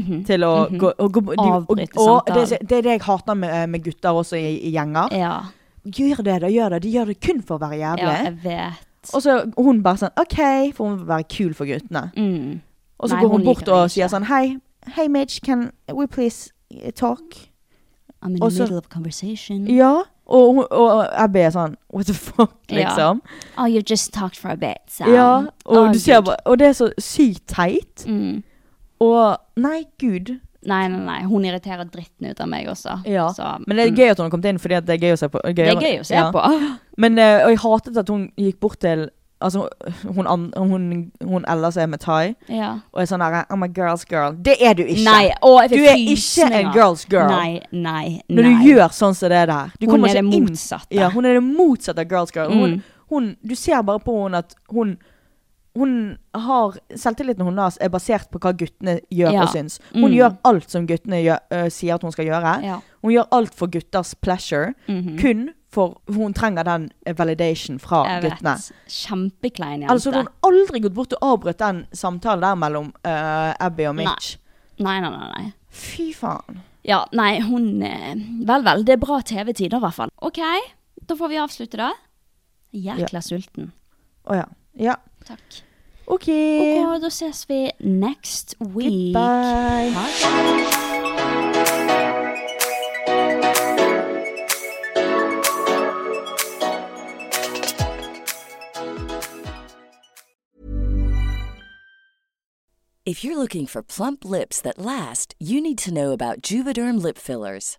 Speaker 3: Mhm.
Speaker 4: til å
Speaker 3: Mhm.
Speaker 4: gå, og, gå- de, og,
Speaker 3: Avbryte
Speaker 4: og,
Speaker 3: samtalen.
Speaker 4: det, er- det er det jeg hater med, eh, med gutter også i, i gjenger.
Speaker 3: Ja.
Speaker 4: Gjør det, da. gjør det. De gjør det kun for å være
Speaker 3: ja,
Speaker 4: jævlig.
Speaker 3: jeg vet.
Speaker 4: og så hun bare sånn OK, for hun vil være kul for guttene.
Speaker 3: Mm.
Speaker 4: Og så
Speaker 3: Nei,
Speaker 4: går
Speaker 3: hun
Speaker 4: hun bort
Speaker 3: liker det
Speaker 4: og
Speaker 3: ikke.
Speaker 4: sier sånn Hei, hei Mitch, can we please eh, talk?
Speaker 3: I'm in
Speaker 4: Og
Speaker 3: the
Speaker 4: så-
Speaker 3: middle of conversation.
Speaker 4: Ja. Og, hun- og Abbe er sånn What the fuck,
Speaker 3: Mm. Ja.
Speaker 4: liksom.
Speaker 3: Oh, you just talked for a bit, so.
Speaker 4: Ja. og,
Speaker 3: Å,
Speaker 4: du ser
Speaker 3: Gud.
Speaker 4: bare, og det er så sykt teit.
Speaker 3: Mm.
Speaker 4: Og Nei, gud.
Speaker 3: Nei, nei, nei. Hun irriterer dritten ut av meg også.
Speaker 4: Ja.
Speaker 3: Så,
Speaker 4: Men det er
Speaker 3: mm.
Speaker 4: gøy at hun har kommet inn, fordi at det er gøy å se på.
Speaker 3: Det er gøy å se
Speaker 4: Ja.
Speaker 3: på.
Speaker 4: Men, eh, og jeg hatet at hun gikk bort til Altså, hun, an- hun, hun ellers er med Thai,
Speaker 3: Ja.
Speaker 4: og er sånn derre I'm a girl's girl. Det er du ikke!
Speaker 3: Nei, å, jeg
Speaker 4: du
Speaker 3: fikk
Speaker 4: er ikke
Speaker 3: frysninger.
Speaker 4: en girl's girl
Speaker 3: Nei, nei, nei.
Speaker 4: når du gjør sånn som det der. Du
Speaker 3: Hun
Speaker 4: kommer
Speaker 3: er
Speaker 4: ikke
Speaker 3: det
Speaker 4: inn-
Speaker 3: motsatte.
Speaker 4: Ja, hun er det motsatte av girl's girl. Hun,
Speaker 3: Mm.
Speaker 4: hun, du ser bare på henne at hun hun har, Selvtilliten hennes er basert på hva guttene gjør
Speaker 3: Ja.
Speaker 4: og syns. Hun
Speaker 3: Mm.
Speaker 4: gjør alt som guttene gjør, øh, sier at hun skal gjøre.
Speaker 3: Ja. Mhm.
Speaker 4: Hun gjør alt for gutters pleasure.
Speaker 3: Mm.
Speaker 4: Kun for hun trenger den eh, validation fra
Speaker 3: Jeg vet.
Speaker 4: guttene.
Speaker 3: Kjempeklein jente.
Speaker 4: Altså, hun har aldri gått bort og avbrutt den samtalen der mellom eh, Abby og Mitch.
Speaker 3: Nei, nei, nei. nei.
Speaker 4: Fy faen.
Speaker 3: Ja, nei, hun eh, Vel, vel. Det er bra TV-tider, i hvert fall. OK, da får vi avslutte, da. Jækla sulten.
Speaker 4: Å ja. Ja.
Speaker 3: Takk.
Speaker 4: OK.
Speaker 3: Og da ses vi next week.
Speaker 4: Goodbye.
Speaker 3: Ha det.
Speaker 1: If you're looking for plump lips that last, you need to know about Juvederm lip fillers.